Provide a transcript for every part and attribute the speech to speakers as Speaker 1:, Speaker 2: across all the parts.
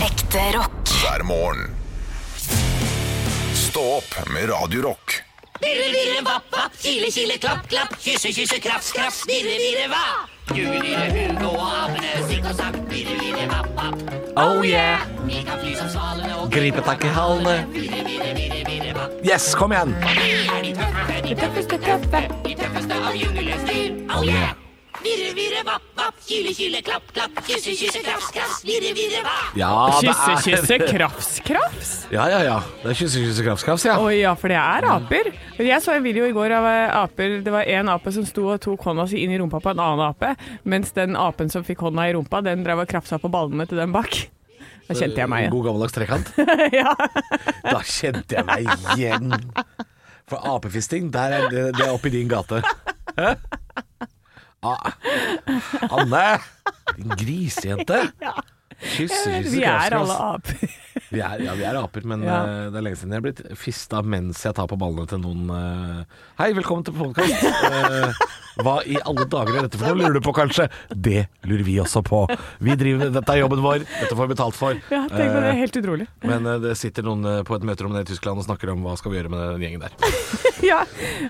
Speaker 1: Ekte rock.
Speaker 2: hver morgen. Stå opp med Radio Rock.
Speaker 3: Virre, virre, vapp, vapp, kile, kile, klapp, klapp, kysse, kysse, krafs, krafs, virre, virre, hva? Gule lille Hugo og apene, sikk og sakk, virre, virre, vapp, vapp.
Speaker 4: Oh yeah!
Speaker 3: Vi kan fly som svalene og
Speaker 4: Gripe tak i hallene.
Speaker 3: Virre, virre, virre, virre, vapp.
Speaker 4: Yes, kom igjen!
Speaker 3: Vi er de tøffeste, de tøffeste, tøffe, de tøffeste av jungelens dyr. Oh yeah! Virre, virre, vapp, vapp, kile, kile, klapp, klapp, kysse, kysse, krafs, krafs, virre, virre, hva?
Speaker 4: Ja, det
Speaker 5: Kysse,
Speaker 4: er-
Speaker 5: kysse, krafs, krafs.
Speaker 4: Ja, ja, ja. Det er kysse, kysse, krafs, krafs, ja.
Speaker 5: Å ja, for det er aper. Jeg så en video i går av eh, aper. Det var en ape som sto og tok hånda si inn i rumpa på en annen ape, mens den apen som fikk hånda i rumpa, den drev og krafsa på ballene til den bak. Da kjente jeg meg igjen.
Speaker 4: God gammeldags trekant.
Speaker 5: Ja.
Speaker 4: Da kjente jeg meg igjen. For apefisting, der er det, det er oppe i din gate. Hæ? Ah. Anne! Din grisejente. Kysse, kysse,
Speaker 5: Vi
Speaker 4: krafs,
Speaker 5: er alle
Speaker 4: krafs.
Speaker 5: aper.
Speaker 4: Vi er, ja, vi er aper, men
Speaker 5: Ja.
Speaker 4: eh, det er lenge siden jeg har blitt fista mens jeg tar på ballene til noen eh, Hei, velkommen til podkast. hva i alle dager er dette for noe? Lurer du på, kanskje? Det lurer vi også på. Vi driver, Dette er jobben vår, dette får vi betalt for.
Speaker 5: Ja, tenk på det.
Speaker 4: Eh,
Speaker 5: Helt utrolig.
Speaker 4: men eh, det sitter noen eh, på et møterom nede i Tyskland og snakker om hva skal vi gjøre med den gjengen der.
Speaker 5: Ja,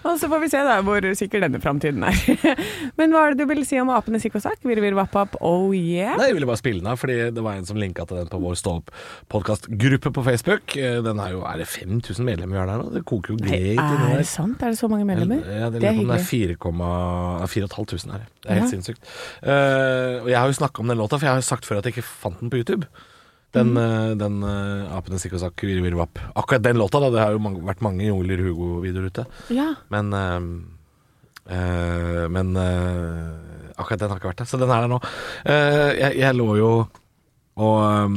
Speaker 5: og så får vi se da hvor sikker denne framtiden er. Men hva er det du vil si om apene sikk og sakk? Virr, virr, vapp, vapp, oh yeah.
Speaker 4: Nei, Jeg ville bare spille den av, fordi det var en som linka til den på vår Stå opp-podkastgruppe på Facebook. Eh, Den er jo Er det 5000 medlemmer vi har der nå? Det koker jo greit inni
Speaker 5: Er
Speaker 4: der.
Speaker 5: det sant? Er det så mange medlemmer?
Speaker 4: Ja, det,
Speaker 5: Det er
Speaker 4: lurer på om det er 4,5
Speaker 5: hyggelig.
Speaker 4: 4500 her. Det er helt
Speaker 5: Ja.
Speaker 4: sinnssykt. Eh, og jeg har jo snakka om den låta, for jeg har jo sagt før at jeg ikke fant den på YouTube.
Speaker 5: Mm.
Speaker 4: Den, eh, den eh, Apene sikk og sakk, virre, virre, vapp. Akkurat den låta, da. Det har jo mange, vært mange Joler Hugo-videoer ute.
Speaker 5: Ja.
Speaker 4: Men eh, eh, Men eh, akkurat den har ikke vært der, så den er der nå. Eh, jeg, jeg lå jo og eh,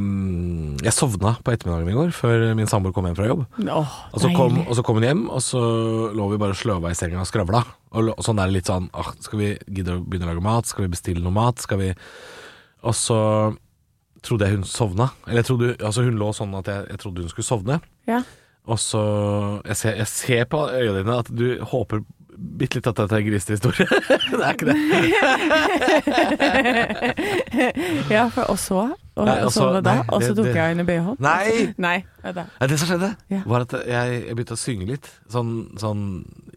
Speaker 4: Jeg sovna på ettermiddagen i går, før min samboer kom hjem fra jobb.
Speaker 5: Åh,
Speaker 4: Og så, kom,
Speaker 5: deilig.
Speaker 4: og så kom hun hjem, og så lå vi bare sløva i senga og skravla. Og, lå- og sånn der litt sånn ah, Skal vi gidde å begynne å lage mat? Skal vi bestille noe mat? Skal vi Og så trodde jeg hun sovna. Eller jeg trodde, altså hun lå sånn at jeg, jeg trodde hun skulle sovne.
Speaker 5: Ja.
Speaker 4: Og så Jeg ser, jeg ser på øynene dine at du håper bitte litt at dette er en grisehistorie. det er ikke det.
Speaker 5: ja, for og så og,
Speaker 4: Nei,
Speaker 5: og
Speaker 4: altså,
Speaker 5: så var det da,
Speaker 4: nei,
Speaker 5: og så
Speaker 4: det-
Speaker 5: tok
Speaker 4: det-
Speaker 5: jeg henne i BH-en.
Speaker 4: Nei!
Speaker 5: Nei, det er det.
Speaker 4: Nei, det som skjedde,
Speaker 5: Ja.
Speaker 4: var at jeg, jeg begynte å synge litt. Sånn, sånn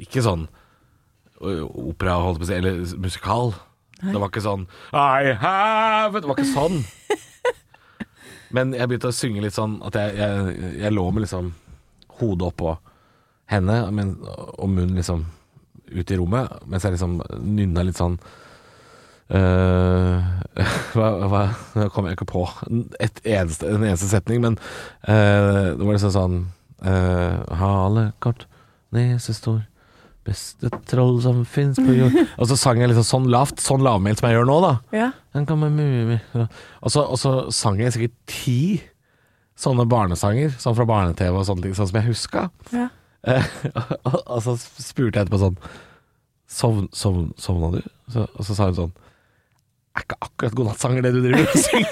Speaker 4: Ikke sånn ø, opera, holdt jeg på å si, eller s- musikal. Det var ikke sånn I have it Det var ikke sånn. Men jeg begynte å synge litt sånn at jeg, jeg, jeg lå med liksom hodet oppå henne men, og munnen liksom ut i rommet, mens jeg liksom nynna litt sånn eh, hva, hva, Nå kommer jeg ikke på et eneste, en eneste setning, men eh, det var liksom sånn eh, Hale kort, nese stor, beste troll som fins på jord Og så sang jeg liksom sånn lavt, sånn lavmælt som jeg gjør nå, da.
Speaker 5: Ja.
Speaker 4: Den kommer mye, mye. Og, så, og så sang jeg sikkert ti sånne barnesanger, sånn fra barne-TV og sånne ting, sånn som jeg huska.
Speaker 5: Ja.
Speaker 4: Eh, og, og så spurte jeg etterpå sånn Sovn, sovn, Sovna du? Så, og så sa hun sånn Er ikke akkurat godnattsanger det du driver og synger?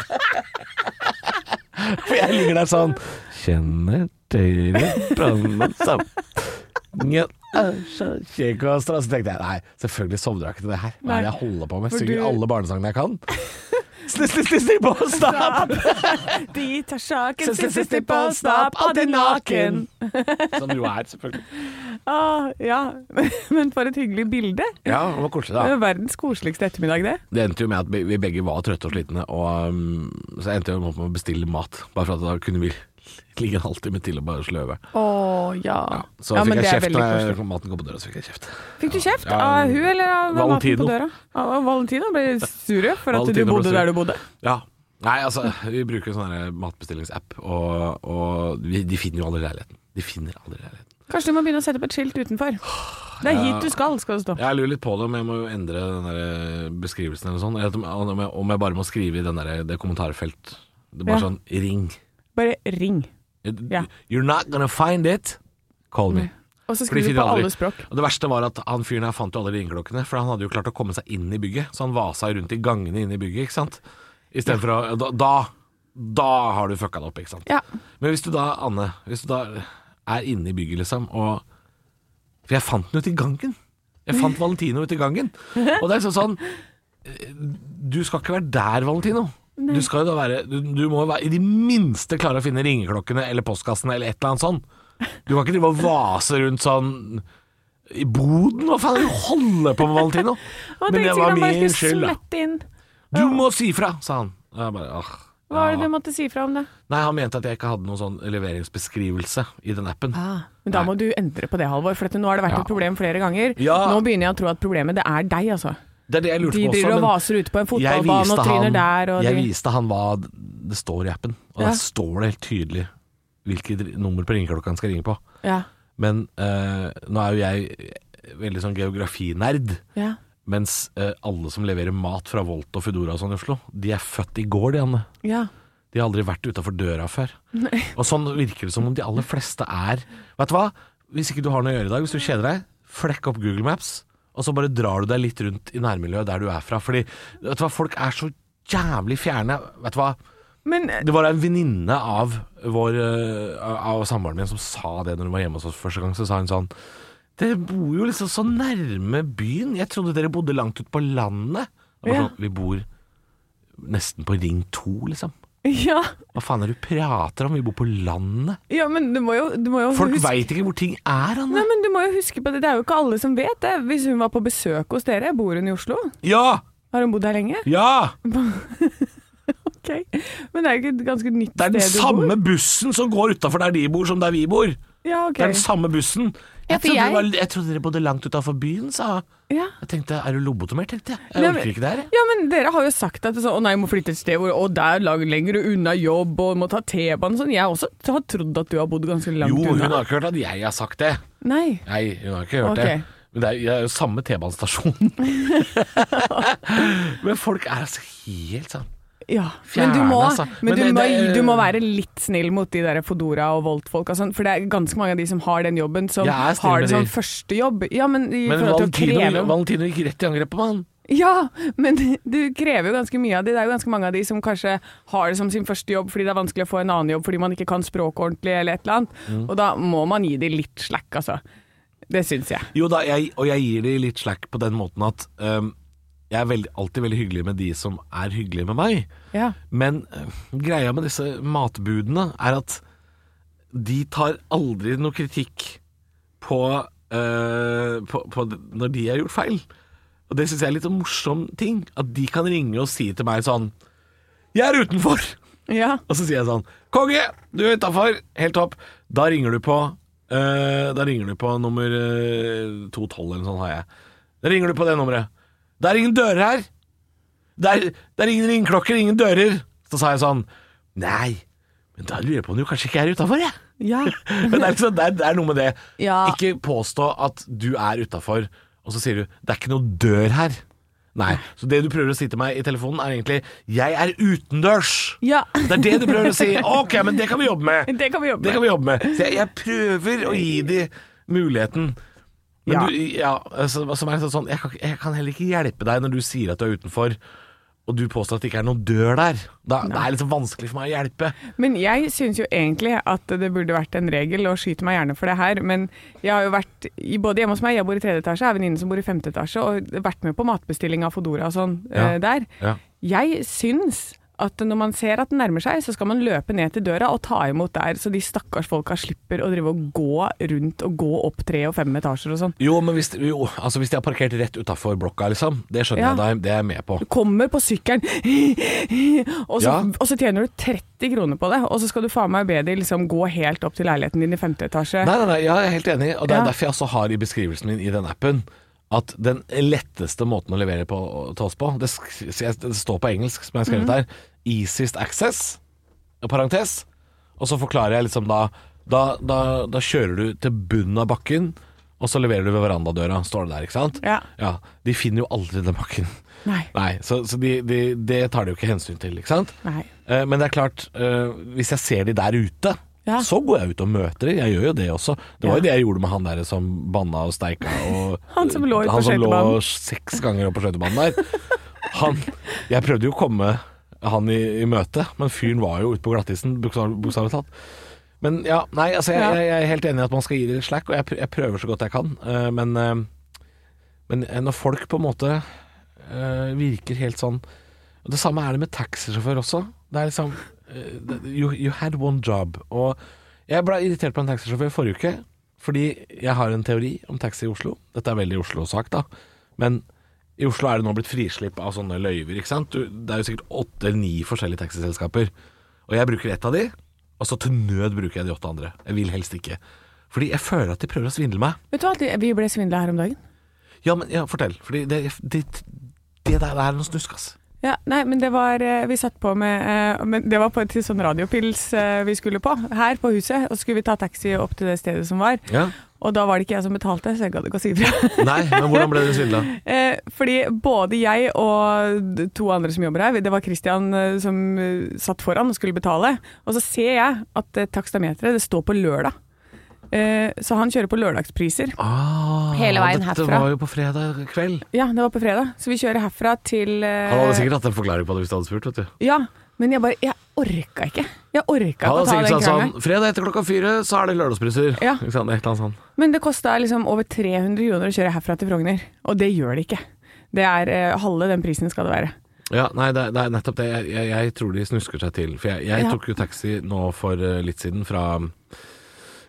Speaker 4: For jeg ligger der sånn Kjenner dere brannen sammen? Ja, er så kjekk og stram. Så tenkte jeg nei, selvfølgelig sovner jeg ikke til det her. Hva er det jeg holder på med?
Speaker 5: For
Speaker 4: Synger
Speaker 5: du-
Speaker 4: alle barnesangene jeg kan? Snipp, snipp, snipp, snipp og stopp!
Speaker 5: De tar sjaken,
Speaker 4: Snipp, snipp, snipp, snipp og stopp,
Speaker 5: stapp,
Speaker 4: alltid naken! Som du er, selvfølgelig.
Speaker 5: Åh, ja, men for et hyggelig bilde.
Speaker 4: Ja, det var koselig, da.
Speaker 5: Det var verdens koseligste ettermiddag, det.
Speaker 4: Det endte jo med at vi begge var trøtte og slitne, og um, så endte jeg opp med å bestille mat. Bare for at da kunne vi ligge en halvtime til og bare sløve.
Speaker 5: Å ja. ja.
Speaker 4: Så fikk
Speaker 5: men
Speaker 4: jeg
Speaker 5: det er
Speaker 4: kjeft
Speaker 5: veldig
Speaker 4: når jeg-
Speaker 5: koselig.
Speaker 4: maten kom på døra. Så fikk jeg kjeft.
Speaker 5: Fikk du kjeft
Speaker 4: Ja,
Speaker 5: av hun eller av maten
Speaker 4: Valentino.
Speaker 5: på døra? Av av Valentino ble sure for at
Speaker 4: Valentino
Speaker 5: du
Speaker 4: ble
Speaker 5: bodde
Speaker 4: sur.
Speaker 5: der du bodde.
Speaker 4: Ja. Nei, altså, vi bruker sånn her matbestillingsapp, og, og vi, de finner jo aldri leiligheten. De finner aldri leiligheten.
Speaker 5: Kanskje du må begynne å sette opp et skilt utenfor. Det er hit du skal, skal det stå.
Speaker 4: Jeg lurer litt på det om jeg må jo endre den der beskrivelsen eller sånn. eller Om jeg, om jeg bare må skrive i den der, det kommentarfelt. Det er bare
Speaker 5: Ja.
Speaker 4: sånn ring.
Speaker 5: Bare ring. Ja. Mm.
Speaker 4: You're not gonna find it. Call me.
Speaker 5: Og
Speaker 4: For
Speaker 5: så
Speaker 4: de
Speaker 5: skriver du
Speaker 4: finner
Speaker 5: på
Speaker 4: aldri.
Speaker 5: alle språk.
Speaker 4: Og det verste var at han fyren her fant jo alle ringeklokkene, for han hadde jo klart å komme seg inn i bygget. Så han vasa rundt i gangene inne i bygget, ikke sant. Istedenfor å da, da, da har du fucka det opp, ikke sant.
Speaker 5: Ja.
Speaker 4: Men hvis du da, Anne, hvis du da er inne i bygget, liksom, og For jeg fant den ute i gangen. Jeg fant eh, Valentino ute i gangen. Og det er liksom sånn Du skal ikke være der, Valentino. Du skal jo da være Du, du må jo være, i det minste klare å finne ringeklokkene eller postkassene eller et eller annet sånn. Du kan ikke drive og vase rundt sånn i boden? Hva faen er det du holder på med, Valentino?
Speaker 5: Og tenkte sikkert han bare skulle slette inn.
Speaker 4: Du må si fra, sa han. Og jeg bare, ah,
Speaker 5: Hva var
Speaker 4: ja.
Speaker 5: det du måtte si fra om det?
Speaker 4: Nei, han mente at jeg ikke hadde noen sånn leveringsbeskrivelse i den appen.
Speaker 5: Men da må du endre på det, Halvor. For at nå har det vært
Speaker 4: Ja.
Speaker 5: et problem flere ganger.
Speaker 4: Ja.
Speaker 5: Nå begynner jeg å tro at problemet det er deg, altså.
Speaker 4: Det er det jeg lurte
Speaker 5: De
Speaker 4: på
Speaker 5: driver
Speaker 4: også.
Speaker 5: og
Speaker 4: men
Speaker 5: vaser ute på en
Speaker 4: jeg
Speaker 5: fotballbane og
Speaker 4: viste,
Speaker 5: tryner
Speaker 4: han,
Speaker 5: der. Og
Speaker 4: jeg
Speaker 5: de...
Speaker 4: viste han hva det står i appen, og
Speaker 5: Ja.
Speaker 4: der står det helt tydelig hvilket dri- nummer på ringeklokka han skal ringe på.
Speaker 5: ja.
Speaker 4: Men eh, nå er jo jeg veldig sånn geografinerd,
Speaker 5: Ja.
Speaker 4: mens eh, alle som leverer mat fra Volt og Foodora og sånn i Oslo, de er født i går, de, Anne.
Speaker 5: Ja.
Speaker 4: De har aldri vært utafor døra før. Og sånn virker det som om de aller fleste er Vet du hva? Hvis ikke du har noe å gjøre i dag, hvis du kjeder deg, flekk opp Google Maps, og så bare drar du deg litt rundt i nærmiljøet der du er fra. Fordi vet du hva, folk er så jævlig fjerne. Vet du hva?
Speaker 5: Men eh,
Speaker 4: Det var en venninne av vår eh, Av samboeren min som sa det når hun var hjemme hos oss første gang. Så sa hun sånn Dere bor jo liksom så nærme byen. Jeg trodde dere bodde langt ute på landet. Det var
Speaker 5: Ja.
Speaker 4: sånn, Vi bor nesten på Ring 2, liksom.
Speaker 5: ja,
Speaker 4: Hva faen er det du prater om? Vi bor på landet.
Speaker 5: ja, men du må jo, du må jo
Speaker 4: Folk
Speaker 5: huske
Speaker 4: veit ikke hvor ting er,
Speaker 5: Nei,
Speaker 4: Anne.
Speaker 5: men du må jo huske på det. Det er jo ikke alle som vet det. Hvis hun var på besøk hos dere, bor hun i Oslo?
Speaker 4: Ja!
Speaker 5: Har hun bodd her lenge?
Speaker 4: Ja!
Speaker 5: Ok. Men det er jo ikke et ganske nytt
Speaker 4: Det er den
Speaker 5: sted du bor.
Speaker 4: samme bussen som går utafor der de bor, som der vi bor.
Speaker 5: Ja, ok.
Speaker 4: Det er den samme bussen. Jeg
Speaker 5: for
Speaker 4: trodde,
Speaker 5: jeg-
Speaker 4: dere var- jeg trodde dere bodde langt utafor byen, sa hun.
Speaker 5: Ja.
Speaker 4: Jeg tenkte, er du lobotomert, tenkte jeg. Jeg
Speaker 5: Nei, men-
Speaker 4: orker ikke det her. jeg.
Speaker 5: Ja, men dere har jo sagt at det er sånn, å nei, jeg må flytte et sted hvor, og der lag lenger unna jobb og må ta T-banen og sånn. Jeg også t- har trodd at du har bodd ganske langt
Speaker 4: Jo, hun
Speaker 5: unna.
Speaker 4: har ikke hørt at jeg har sagt det.
Speaker 5: Nei.
Speaker 4: Nei, hun har ikke hørt
Speaker 5: Ok.
Speaker 4: det. Men det er, det er jo samme T-banestasjon. Men folk er altså helt sånn
Speaker 5: Ja. Men, du
Speaker 4: Fjerne,
Speaker 5: må,
Speaker 4: altså.
Speaker 5: men
Speaker 4: Men
Speaker 5: du,
Speaker 4: det-
Speaker 5: må,
Speaker 4: det-
Speaker 5: du må være litt snill mot de der Fodora og Volt-folka og sånn, for det er ganske mange av de som har den jobben, som
Speaker 4: Jeg er snill
Speaker 5: har
Speaker 4: med
Speaker 5: det som
Speaker 4: de.
Speaker 5: første jobb. Ja, men i
Speaker 4: Men
Speaker 5: forhold til å
Speaker 4: Valentino,
Speaker 5: kreve
Speaker 4: Valentino gikk rett i angrep på meg.
Speaker 5: Ja, men du krever jo ganske mye av de. Det er jo ganske mange av de som kanskje har det som sin første jobb fordi det er vanskelig å få en annen jobb fordi man ikke kan språket ordentlig eller et eller annet.
Speaker 4: Mm.
Speaker 5: Og da må man gi de litt slack, altså. Det syns jeg.
Speaker 4: Jo da, jeg, og jeg gir de litt slack på den måten at øhm, jeg er veldig, alltid veldig hyggelig med de som er hyggelige med meg.
Speaker 5: Ja.
Speaker 4: Men øh, greia med disse matbudene er at de tar aldri noe kritikk på, øh, på, på d- når de har gjort feil. Og det syns jeg er litt en morsom ting. At de kan ringe og si til meg sånn Jeg er utenfor!
Speaker 5: Ja.
Speaker 4: Og så sier jeg sånn Konge, du er utafor! Helt topp. Da ringer du på eh, Da ringer du på nummer eh, 212 eller noe sånt har jeg. Da ringer du på det nummeret. Det er ingen dører her! Det er, det er ingen ringeklokker, ingen dører! Så sa jeg sånn Nei, men da lurer jeg på om du kanskje ikke er utafor, jeg.
Speaker 5: Ja.
Speaker 4: Men det er, liksom, det, er, det er noe med det.
Speaker 5: Ja.
Speaker 4: Ikke påstå at du er utafor, og så sier du 'det er ikke noe dør her'. Nei. Så det du prøver å si til meg i telefonen, er egentlig 'jeg er utendørs'.
Speaker 5: Ja.
Speaker 4: Det er det du prøver å si. Ok, men det kan vi jobbe med.
Speaker 5: Det kan vi jobbe
Speaker 4: Det kan
Speaker 5: med.
Speaker 4: vi jobbe med. Så jeg, jeg prøver å gi de muligheten. Men
Speaker 5: Ja.
Speaker 4: du, ja, altså, som er sånn, jeg, kan, ikke- jeg kan heller ikke hjelpe deg når du sier at du er utenfor, og du påstår at det ikke er noen dør der. Da, det er liksom vanskelig for meg å hjelpe.
Speaker 5: Men jeg syns jo egentlig at det burde vært en regel, og skyter meg gjerne for det her, men jeg har jo vært i- både hjemme hos meg, jeg bor i tredje etasje, jeg har en venninne som bor i femte etasje, og vært med på matbestilling av Fodora og sånn
Speaker 4: Ja.
Speaker 5: eh, der.
Speaker 4: Ja.
Speaker 5: Jeg syns at når man ser at den nærmer seg, så skal man løpe ned til døra og ta imot der, så de stakkars folka slipper å drive og gå rundt og gå opp tre og fem etasjer og sånn.
Speaker 4: Jo, men hvis, jo, altså hvis de har parkert rett utafor blokka, liksom, det skjønner jeg
Speaker 5: Ja.
Speaker 4: deg, det er jeg med på.
Speaker 5: Kommer på sykkelen, og,
Speaker 4: Ja.
Speaker 5: så, og så tjener du 30 kroner på det, og så skal du faen meg be de liksom gå helt opp til leiligheten din i femte etasje.
Speaker 4: Nei, nei, nei, jeg er helt enig, og det er
Speaker 5: Ja.
Speaker 4: derfor jeg også har i beskrivelsen min i den appen at den letteste måten å levere på, til oss på, det, sk- jeg- det står på engelsk som jeg har skrevet
Speaker 5: Mhm.
Speaker 4: her, easiest access, parentes, og så forklarer jeg liksom da, da, da, da kjører du til bunnen av bakken, og så leverer du ved verandadøra, står det der, ikke sant?
Speaker 5: Ja.
Speaker 4: Ja, de finner jo aldri den bakken.
Speaker 5: Nei.
Speaker 4: Nei, så, så de, de, det tar de jo ikke hensyn til, ikke sant?
Speaker 5: Nei.
Speaker 4: Eh, Men det er klart, eh, hvis jeg ser de der ute,
Speaker 5: Ja.
Speaker 4: så går jeg ut og møter de. Jeg gjør jo det også. Det var
Speaker 5: Ja.
Speaker 4: jo det jeg gjorde med han der som banna og steika og
Speaker 5: Han som lå ut på
Speaker 4: Han som
Speaker 5: skøytebanen.
Speaker 4: lå seks ganger opp på skøytebanen der. Han Jeg prøvde jo å komme han i, i møte, men fyren var jo ute på glattisen, bokstav- bokstavelig talt. Men ja, nei, altså jeg,
Speaker 5: Ja.
Speaker 4: jeg, jeg er helt enig i at man skal gi det litt slack, og jeg, pr- jeg prøver så godt jeg kan, eh, men eh, men eh, når folk på en måte eh, virker helt sånn Og Det samme er det med taxisjåfør også. Det er liksom eh, det- you, you had one job. Og jeg ble irritert på en taxisjåfør forrige uke, fordi jeg har en teori om taxi i Oslo. Dette er veldig Oslo-sak, da. Men i Oslo er det nå blitt frislipp av sånne løyver, ikke sant? Du, det er jo sikkert åtte eller ni forskjellige taxiselskaper. Og jeg bruker ett av de, og så til nød bruker jeg de åtte andre. Jeg vil helst ikke. Fordi jeg føler at de prøver å svindle meg.
Speaker 5: Vet du hva, at vi ble svindla her om dagen?
Speaker 4: Ja, men ja, fortell. Fordi det, det, det der det er noe snusk, ass.
Speaker 5: Ja, nei, men det var eh, Vi satt på med eh, men Det var på et sånn radiopils eh, vi skulle på, her på huset. Og så skulle vi ta taxi opp til det stedet som var. Og da var det ikke jeg som betalte, så jeg gadd ikke å si ifra.
Speaker 4: Nei, men hvordan ble dere svindla?
Speaker 5: Eh, Fordi både jeg og d- to andre som jobber her, det var Christian eh, som eh, satt foran og skulle betale, og så ser jeg at eh, takstameteret det står på lørdag. Eh, Så han kjører på lørdagspriser.
Speaker 4: Ah,
Speaker 5: Hele veien
Speaker 4: Dette
Speaker 5: herfra.
Speaker 4: var jo på fredag kveld.
Speaker 5: Ja, det var på fredag, så vi kjører herfra til eh,
Speaker 4: Han hadde sikkert hatt en forklaring på det hvis du hadde spurt. vet du
Speaker 5: Ja, men jeg bare Jeg orka ikke. Jeg orka
Speaker 4: Han
Speaker 5: ikke å
Speaker 4: hadde
Speaker 5: ta
Speaker 4: sikkert
Speaker 5: den
Speaker 4: sagt
Speaker 5: krangelen.
Speaker 4: sånn Fredag etter klokka fire, så er det lørdagspriser.
Speaker 5: Ja.
Speaker 4: Ikke sant? Et eller annet sånt.
Speaker 5: Men det kosta liksom over 300 kroner å kjøre herfra til Frogner, og det gjør det ikke. Det er eh, halve den prisen skal det være.
Speaker 4: Ja, nei, det er, det er nettopp det. Jeg, jeg, jeg tror de snusker seg til. For jeg, jeg
Speaker 5: Ja.
Speaker 4: tok jo taxi nå for eh, litt siden fra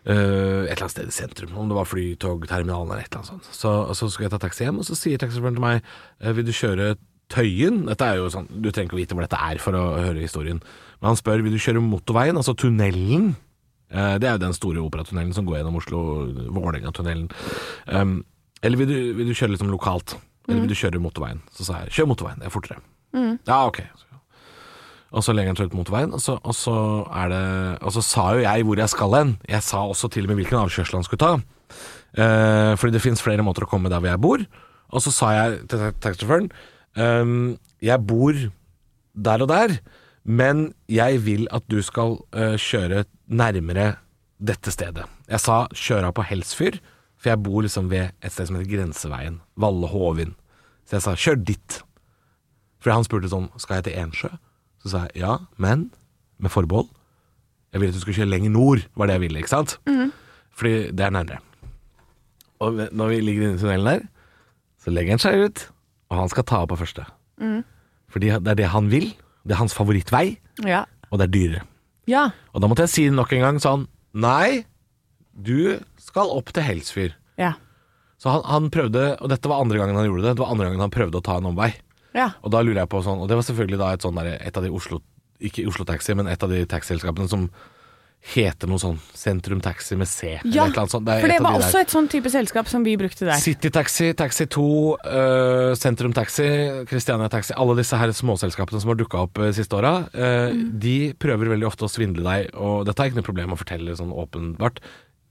Speaker 4: eh, et eller annet sted i sentrum, om det var flytogterminalen eller et eller annet sånt. Så, så skulle jeg ta taxi hjem, og så sier taxisjåføren til meg eh, Vil du kjøre Tøyen? Dette er jo sånn, Du trenger ikke vite hvor dette er for å høre historien. Men han spør vil du kjøre motorveien, altså tunnelen. Eh, Det er jo den store operatunnelen som går gjennom Oslo, Vålerenga-tunnelen. Um, eller vil du, vil du kjøre liksom lokalt? Eller vil du kjøre motorveien? Så sa jeg kjør motorveien, det er fortere. Ja, ok. Og så legger han seg ut motorveien, og så, og så er det Og så sa jo jeg hvor jeg skal hen. Jeg sa også til og med hvilken avkjørsel han skulle ta. Eh, fordi det fins flere måter å komme der hvor jeg bor. Og så sa jeg til ta- taxisjåføren ehm, Jeg bor der og der, men jeg vil at du skal eh, kjøre nærmere dette stedet. Jeg sa kjør av på Helsfyr, for jeg bor liksom ved et sted som heter Grenseveien. Valle Hovin. Så jeg sa kjør dit. Fordi han spurte sånn, skal jeg til Ensjø? Så sa jeg ja, men med forbehold. Jeg ville at du skulle kjøre lenger nord, var det jeg ville, ikke sant? Fordi det er nærmere. Og ve- når vi ligger inne i tunnelen der, så legger han seg ut, og han skal ta av på første. Fordi det er det han vil, det er hans favorittvei,
Speaker 5: Ja.
Speaker 4: og det er dyrere.
Speaker 5: ja.
Speaker 4: Og da måtte jeg si nok en gang sånn, nei, du skal opp til Helsfyr.
Speaker 5: Ja.
Speaker 4: Så han, han prøvde, og dette var andre gangen han gjorde det, det var andre gangen han prøvde å ta en omvei.
Speaker 5: Ja.
Speaker 4: Og da lurer jeg på sånn Og det var selvfølgelig da et, sånn der, et av de Oslo Ikke Oslo Taxi, men et av de taxiselskapene som heter noe sånn Sentrum Taxi med C. eller et eller annet sånt. er
Speaker 5: for det
Speaker 4: et av
Speaker 5: var
Speaker 4: de der.
Speaker 5: også et sånn type selskap som vi brukte der.
Speaker 4: City Taxi, Taxi 2, øh, Sentrum Taxi, Christiania Taxi Alle disse her småselskapene som har dukka opp øh, siste åra, øh,
Speaker 5: Mm.
Speaker 4: de prøver veldig ofte å svindle deg. Og dette er ikke noe problem å fortelle sånn åpenbart,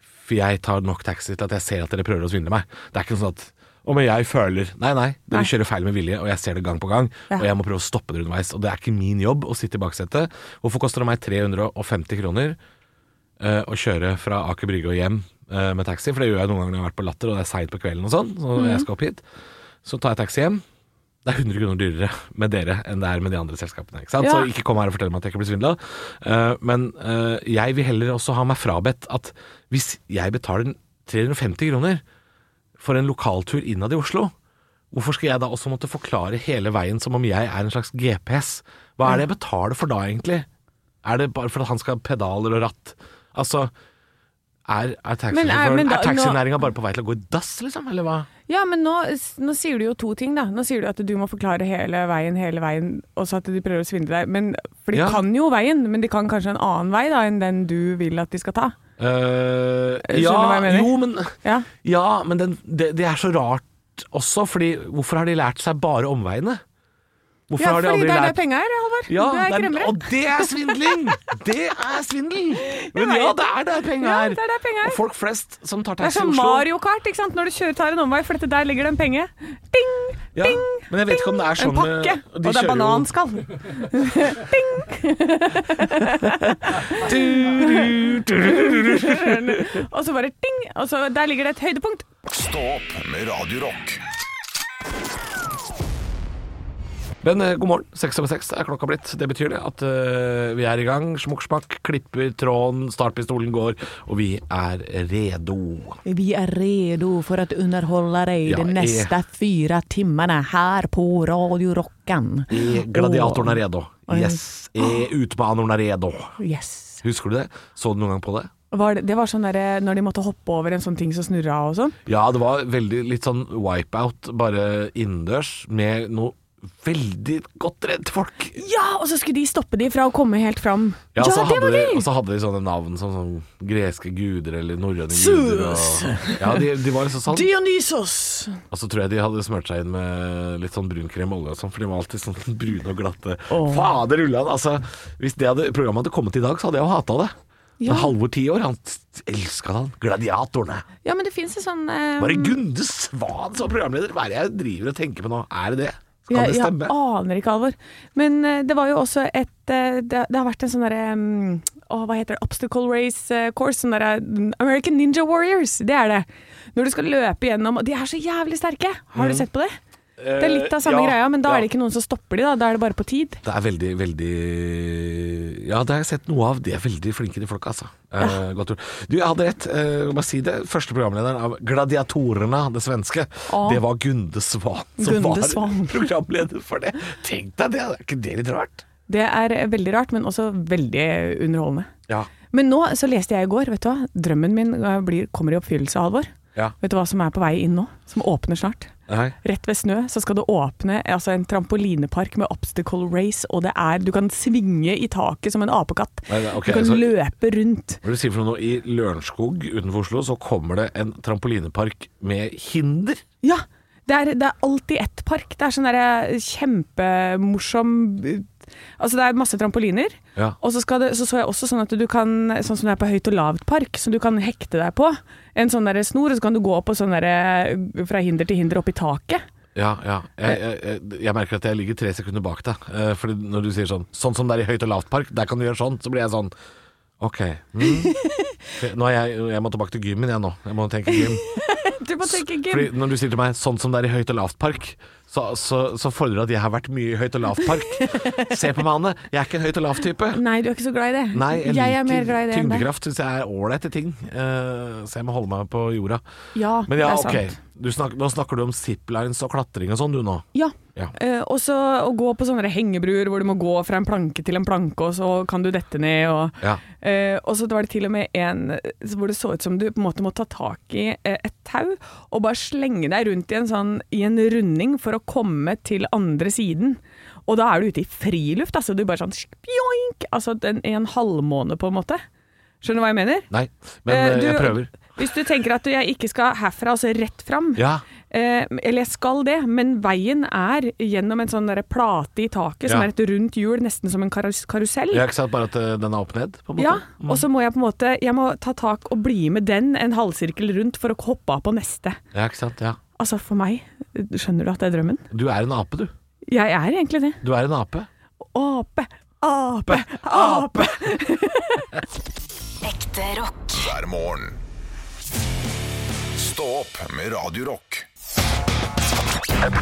Speaker 4: for jeg tar nok taxi til at jeg ser at dere prøver å svindle meg. Det er ikke sånn at å, men jeg føler Nei, nei, dere
Speaker 5: Nei.
Speaker 4: kjører feil med vilje, og jeg ser det gang på gang.
Speaker 5: Ja.
Speaker 4: Og jeg må prøve å stoppe dere underveis. Og det er ikke min jobb å sitte i baksetet. Hvorfor koster det meg 350 kroner eh, å kjøre fra Aker Brygge og hjem eh, med taxi, for det gjør jeg noen ganger når jeg har vært på Latter, og det er seint på kvelden og sånn, så jeg skal opp hit. Så tar jeg taxi hjem. Det er 100 kroner dyrere med dere enn det er med de andre selskapene. Ikke sant?
Speaker 5: Ja.
Speaker 4: Så ikke kom her og fortell meg at jeg ikke blir svindla. Eh, men eh, jeg vil heller også ha meg frabedt at hvis jeg betaler 350 kroner for en lokaltur innad i Oslo, hvorfor skal jeg da også måtte forklare hele veien som om jeg er en slags GPS? Hva er det jeg
Speaker 5: Mm.
Speaker 4: betaler for da, egentlig? Er det bare for at han skal ha pedaler og ratt? Altså, er, er
Speaker 5: Men er-
Speaker 4: taxisjåføren
Speaker 5: men da-
Speaker 4: Er taxinæringa bare på vei til å gå i dass, liksom? Eller hva?
Speaker 5: Ja, men nå, nå sier du jo to ting, da. Nå sier du at du må forklare hele veien, hele veien, og så at de prøver å svindle deg. Men, for de
Speaker 4: Ja.
Speaker 5: kan jo veien, men de kan kanskje en annen vei da enn den du vil at de skal ta.
Speaker 4: Eh,
Speaker 5: Skjønner
Speaker 4: ja,
Speaker 5: du hva jeg mener?
Speaker 4: jo, men
Speaker 5: Ja.
Speaker 4: Ja, men den, det, det er så rart også, fordi hvorfor har de lært seg bare omveiene? Hvorfor
Speaker 5: Ja,
Speaker 4: har de
Speaker 5: fordi
Speaker 4: aldri
Speaker 5: det er der
Speaker 4: lært
Speaker 5: penga er, Halvor.
Speaker 4: ja,
Speaker 5: det er
Speaker 4: det er-
Speaker 5: kremmere.
Speaker 4: Og det er svindling! Det er svindel! Men
Speaker 5: Jeg
Speaker 4: ja,
Speaker 5: vet.
Speaker 4: det er der penga
Speaker 5: Ja,
Speaker 4: er.
Speaker 5: det er der penga er.
Speaker 4: Og folk flest som tar
Speaker 5: Det er
Speaker 4: taxi i
Speaker 5: som
Speaker 4: Oslo
Speaker 5: Mario Kart, ikke sant? når du kjører tar en omvei, for dette der ligger det en penge. Ding!
Speaker 4: ja,
Speaker 5: ding,
Speaker 4: Men jeg vet ikke om det er sånn
Speaker 5: en pakke,
Speaker 4: eh, de
Speaker 5: og det
Speaker 4: kjører
Speaker 5: er
Speaker 4: jo-
Speaker 5: bananskall. og så bare ding, og så der ligger det et høydepunkt.
Speaker 2: Stå opp med Radio Rock.
Speaker 4: Men eh, god morgen. Seks over seks er klokka blitt. Det betyr det at eh, vi er i gang. Smukk, smakk, klipper tråden, startpistolen går, og vi er redo.
Speaker 1: Vi er redo for att underhålla dig
Speaker 4: Ja,
Speaker 1: de
Speaker 4: eh.
Speaker 1: nästa fyra timmarna här på Radio Rockan.
Speaker 4: Eh, Gladiatoren er redo.
Speaker 1: Oi.
Speaker 4: Yes. Eh, Utbaneren er redo.
Speaker 1: Och- Yes.
Speaker 4: Husker du det? Så du noen gang på det?
Speaker 5: Var det, det var sånn derre når de måtte hoppe over en sånn ting som snurra og sånn.
Speaker 4: Ja, det var veldig litt sånn wipeout, bare innendørs, med noe veldig godt redd folk.
Speaker 5: Ja, og så skulle de stoppe de fra å komme helt fram.
Speaker 4: Ja, så
Speaker 5: det
Speaker 4: hadde
Speaker 5: var
Speaker 4: de,
Speaker 5: de!
Speaker 4: og så hadde de sånne navn som sånn, greske guder eller norrøne guder. Og, ja, de, de var liksom sånn.
Speaker 5: Dionysos!
Speaker 4: Og så tror jeg de hadde smurt seg inn med litt sånn brunkrem og olje og sånn, for de var alltid sånn brune og glatte. Fader ullan, altså. Hvis det hadde, programmet hadde kommet i dag, så hadde jeg jo hata det.
Speaker 5: Ja.
Speaker 4: Men Halvor ti år, han elska han. Gladiatorene.
Speaker 5: Ja, men det fins en sånn eh,
Speaker 4: Var det Gunde Svan som programleder? Hva er det jeg driver og tenker på nå? Er det det? Kan
Speaker 5: Jeg,
Speaker 4: det
Speaker 5: jeg
Speaker 4: stemme?
Speaker 5: aner ikke alvor. Men eh, det var jo også et eh, Det, det har vært en sånn derre mm, Å, hva heter det? Obstacle race eh, course. Sånn derre mm, American Ninja Warriors. Det er det. Når du skal løpe gjennom og De er så jævlig sterke! Har du sett på det? Det er litt av
Speaker 4: Mm.
Speaker 5: samme
Speaker 4: Eh, ja,
Speaker 5: greia, men da
Speaker 4: ja.
Speaker 5: er det ikke noen som stopper de, da. Da er det bare på tid.
Speaker 4: Det er veldig, veldig Ja, det har jeg sett noe av. De er veldig flinke, de folka, altså. Eh, godt gjort. Du, jeg hadde rett. Eh, jeg må bare si det. Første programlederen av Gladiatorene, det svenske,
Speaker 5: Å.
Speaker 4: det var Gunde Svan som
Speaker 5: Gunde
Speaker 4: var
Speaker 5: Svan.
Speaker 4: programleder for det. Tenk deg det! Er ikke det litt rart?
Speaker 5: Det er eh, veldig rart, men også veldig underholdende.
Speaker 4: Ja.
Speaker 5: Men nå så leste jeg i går, vet du hva. Drømmen min eh, blir, kommer i oppfyllelse, Halvor.
Speaker 4: Ja. Eh,
Speaker 5: Vet du hva som er på vei inn nå? Som åpner snart.
Speaker 4: Nei.
Speaker 5: Rett ved Snø så skal det åpne altså en trampolinepark med obstacle race, og det er Du kan svinge i taket som en apekatt.
Speaker 4: Nei, nei, ok,
Speaker 5: du kan
Speaker 4: så-
Speaker 5: løpe rundt.
Speaker 4: Hva er det du sier for noe nå? I Lørenskog utenfor Oslo så kommer det en trampolinepark med hinder.
Speaker 5: Ja! Det er, det er alltid ett park. Det er sånn derre kjempemorsom Altså det er masse trampoliner,
Speaker 4: Ja.
Speaker 5: og så, skal det, så så jeg også sånn at du kan Sånn som det er på høyt og lavt park, som du kan hekte deg på. En sånn derre snor, og så kan du gå på sånn derre fra hinder til hinder opp i taket.
Speaker 4: Ja, ja. Jeg, jeg, jeg, jeg merker at jeg ligger tre sekunder bak deg. Eh, Fordi når du sier sånn Sånn som det er i høyt og lavt park, der kan du gjøre sånn. Så blir jeg sånn OK. Mm. Nå er jeg, jeg må tilbake til gymmen, jeg nå. Jeg må tenke gym.
Speaker 5: Du må tenke
Speaker 4: Fordi når du sier til meg 'sånn som det er i høyt og lavt park', så, så, så fordrer det at jeg har vært mye i høyt og lavt park. Se på meg, Anne. Jeg er ikke en høyt og lavt-type.
Speaker 5: Nei, du er ikke så glad i det.
Speaker 4: Nei, jeg,
Speaker 5: jeg, er mer
Speaker 4: liker
Speaker 5: glad i det enn deg.
Speaker 4: tyngdekraft. Syns jeg er ålreite ting. Eh, så jeg må holde meg på jorda.
Speaker 5: Ja,
Speaker 4: Men ja,
Speaker 5: det er sant.
Speaker 4: OK. Du snak, nå snakker du om ziplines og klatring og sånn, du nå.
Speaker 5: Ja.
Speaker 4: Ja.
Speaker 5: Eh, og så å gå på sånne hengebruer hvor du må gå fra en planke til en planke, og så kan du dette ned og
Speaker 4: Ja.
Speaker 5: Eh, og så var det til og med en eh, hvor det så ut som du på en måte må ta tak i eh, et tau og bare slenge deg rundt i en, sånn, i en runding for å komme til andre siden. Og da er du ute i friluft, altså. Du bare sånn spjoink, altså en, en halvmåne på en måte. Skjønner du hva jeg mener?
Speaker 4: Nei, men
Speaker 5: Eh,
Speaker 4: eh,
Speaker 5: du-
Speaker 4: jeg prøver.
Speaker 5: Hvis du tenker at jeg ikke skal herfra, altså rett fram,
Speaker 4: Ja.
Speaker 5: Eh, eller jeg skal det, men veien er gjennom en sånn derre plate i taket som
Speaker 4: Ja.
Speaker 5: er et rundt hjul, nesten som en karus karusell.
Speaker 4: Jeg har ikke sagt bare at eh, den er opp ned, på Mm. en måte.
Speaker 5: Ja, og så må jeg på en måte Jeg må ta tak og bli med den en halvsirkel rundt for å hoppe av på neste.
Speaker 4: Ja, ikke sant? Ja.
Speaker 5: Altså for meg, skjønner du at det er drømmen?
Speaker 4: Du er en ape, du.
Speaker 5: Jeg er egentlig det.
Speaker 4: Du er en ape.
Speaker 5: Ape, ape, ape.
Speaker 6: Ekte rock.
Speaker 2: hver morgen. Stå opp med Radio Rock.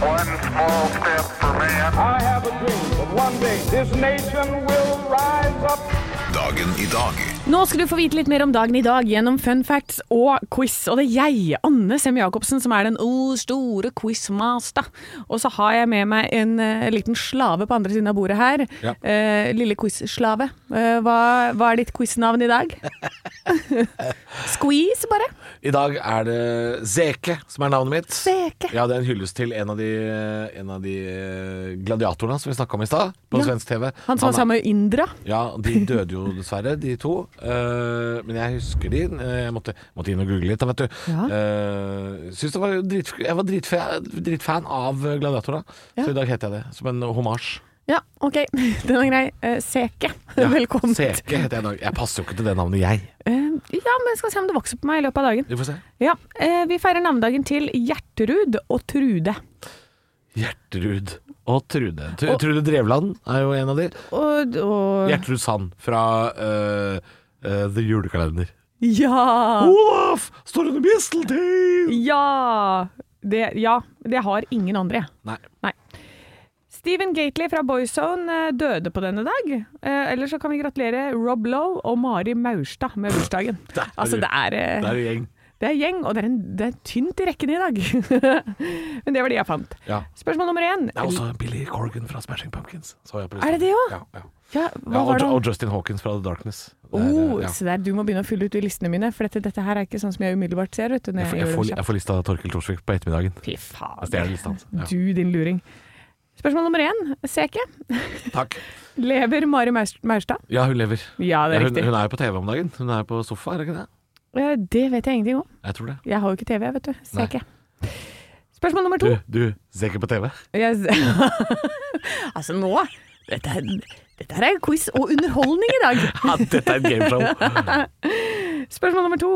Speaker 7: One small step for man. I have a dream that one day this nation will rise up.
Speaker 2: Dagen i dag
Speaker 5: Nå skal du få vite litt mer om dagen i dag gjennom fun facts og quiz. Og det er jeg, Anne Sem-Jacobsen, som er den oh, store quizmaster. Og så har jeg med meg en eh, liten slave på andre siden av bordet her.
Speaker 4: Ja.
Speaker 5: Eh, lille quiz-slave. Eh, hva, hva er ditt quiz-navn i dag? Squeeze, bare.
Speaker 4: I dag er det Zeke som er navnet mitt.
Speaker 5: Zeke.
Speaker 4: Ja, Det er en hyllest til en av de, en av de eh, gladiatorene som vi snakka om i stad, på
Speaker 5: Ja.
Speaker 4: svensk TV.
Speaker 5: Han
Speaker 4: er-
Speaker 5: som var sammen med Indra.
Speaker 4: Ja, de døde jo dessverre, de to. Eh, men jeg husker de. Eh, Jeg måtte, måtte inn og google litt, da, vet du.
Speaker 5: Ja.
Speaker 4: Eh, syns det var jo dritf jeg var dritfan, dritfan av gladiatorene,
Speaker 5: Ja.
Speaker 4: så i dag heter jeg det. Som en homasj.
Speaker 5: Ja, OK. Den er grei. Eh, Seke.
Speaker 4: Ja,
Speaker 5: Velkommen.
Speaker 4: Seke heter jeg i dag. Jeg passer jo ikke til det navnet, jeg.
Speaker 5: Eh, ja, men jeg skal se om det vokser på meg i løpet av dagen.
Speaker 4: Vi får se.
Speaker 5: Ja, eh, Vi feirer navnedagen til Gjerterud og Trude.
Speaker 4: Gjertrud og Trude. Tr Trude Drevland er jo en av de.
Speaker 5: Og, og
Speaker 4: Gjertrud Sand fra eh, eh, The Julekalender. Oh.
Speaker 5: ja,
Speaker 4: Olaf, står under misteltein!
Speaker 5: ja, det, ja! Det har ingen andre, jeg.
Speaker 4: Nei.
Speaker 5: Nei. Steven Gately fra Boyzone eh, døde på denne dag. Eh, Eller så kan vi gratulere Rob Lowe og Mari Maurstad med bursdagen.
Speaker 4: Der er
Speaker 5: Altså,
Speaker 4: du.
Speaker 5: det er, eh,
Speaker 4: Det er en gjeng.
Speaker 5: det er gjeng, og det er, en, det er tynt i rekken i dag. Men det var de jeg fant.
Speaker 4: Ja.
Speaker 5: Spørsmål nummer én.
Speaker 4: Det er også Billy Corgan fra Smashing Pumpkins. Så jeg på
Speaker 5: Er det det også?
Speaker 4: Ja, ja.
Speaker 5: Ja,
Speaker 4: Ja,
Speaker 5: hva
Speaker 4: og,
Speaker 5: var det?
Speaker 4: og Justin Hawkins fra The Darkness. Det er,
Speaker 5: Oh,
Speaker 4: eh, ja.
Speaker 5: Se der, du må begynne å fylle ut de listene mine, for dette, dette her er ikke sånn som jeg umiddelbart ser. Vet du, når
Speaker 4: jeg, får-
Speaker 5: jeg,
Speaker 4: jeg,
Speaker 5: gjør
Speaker 4: får,
Speaker 5: det kjapt.
Speaker 4: jeg får Altså, lista av Torkil Torsvik på ettermiddagen.
Speaker 5: Fy
Speaker 4: Jeg stjeler
Speaker 5: faen.
Speaker 4: lista hans. Ja.
Speaker 5: Du, din luring. Spørsmål nummer én. Ser ikke.
Speaker 4: Takk.
Speaker 5: Lever Mari Maurs- Maurstad?
Speaker 4: Ja, hun lever.
Speaker 5: Ja, det er
Speaker 4: Hun,
Speaker 5: riktig.
Speaker 4: hun er jo på TV om dagen. Hun er på sofa, er det ikke det?
Speaker 5: Eh, Det vet jeg ingenting om.
Speaker 4: Jeg tror det.
Speaker 5: Jeg har jo ikke TV, vet du. Ser
Speaker 4: Nei.
Speaker 5: ikke. Spørsmål nummer
Speaker 4: Du,
Speaker 5: to.
Speaker 4: du ser ikke på TV?
Speaker 5: Jeg s- altså, nå dette, er- dette her er quiz og underholdning i dag.
Speaker 4: Ja, dette er et gameshow.
Speaker 5: Spørsmål nummer to.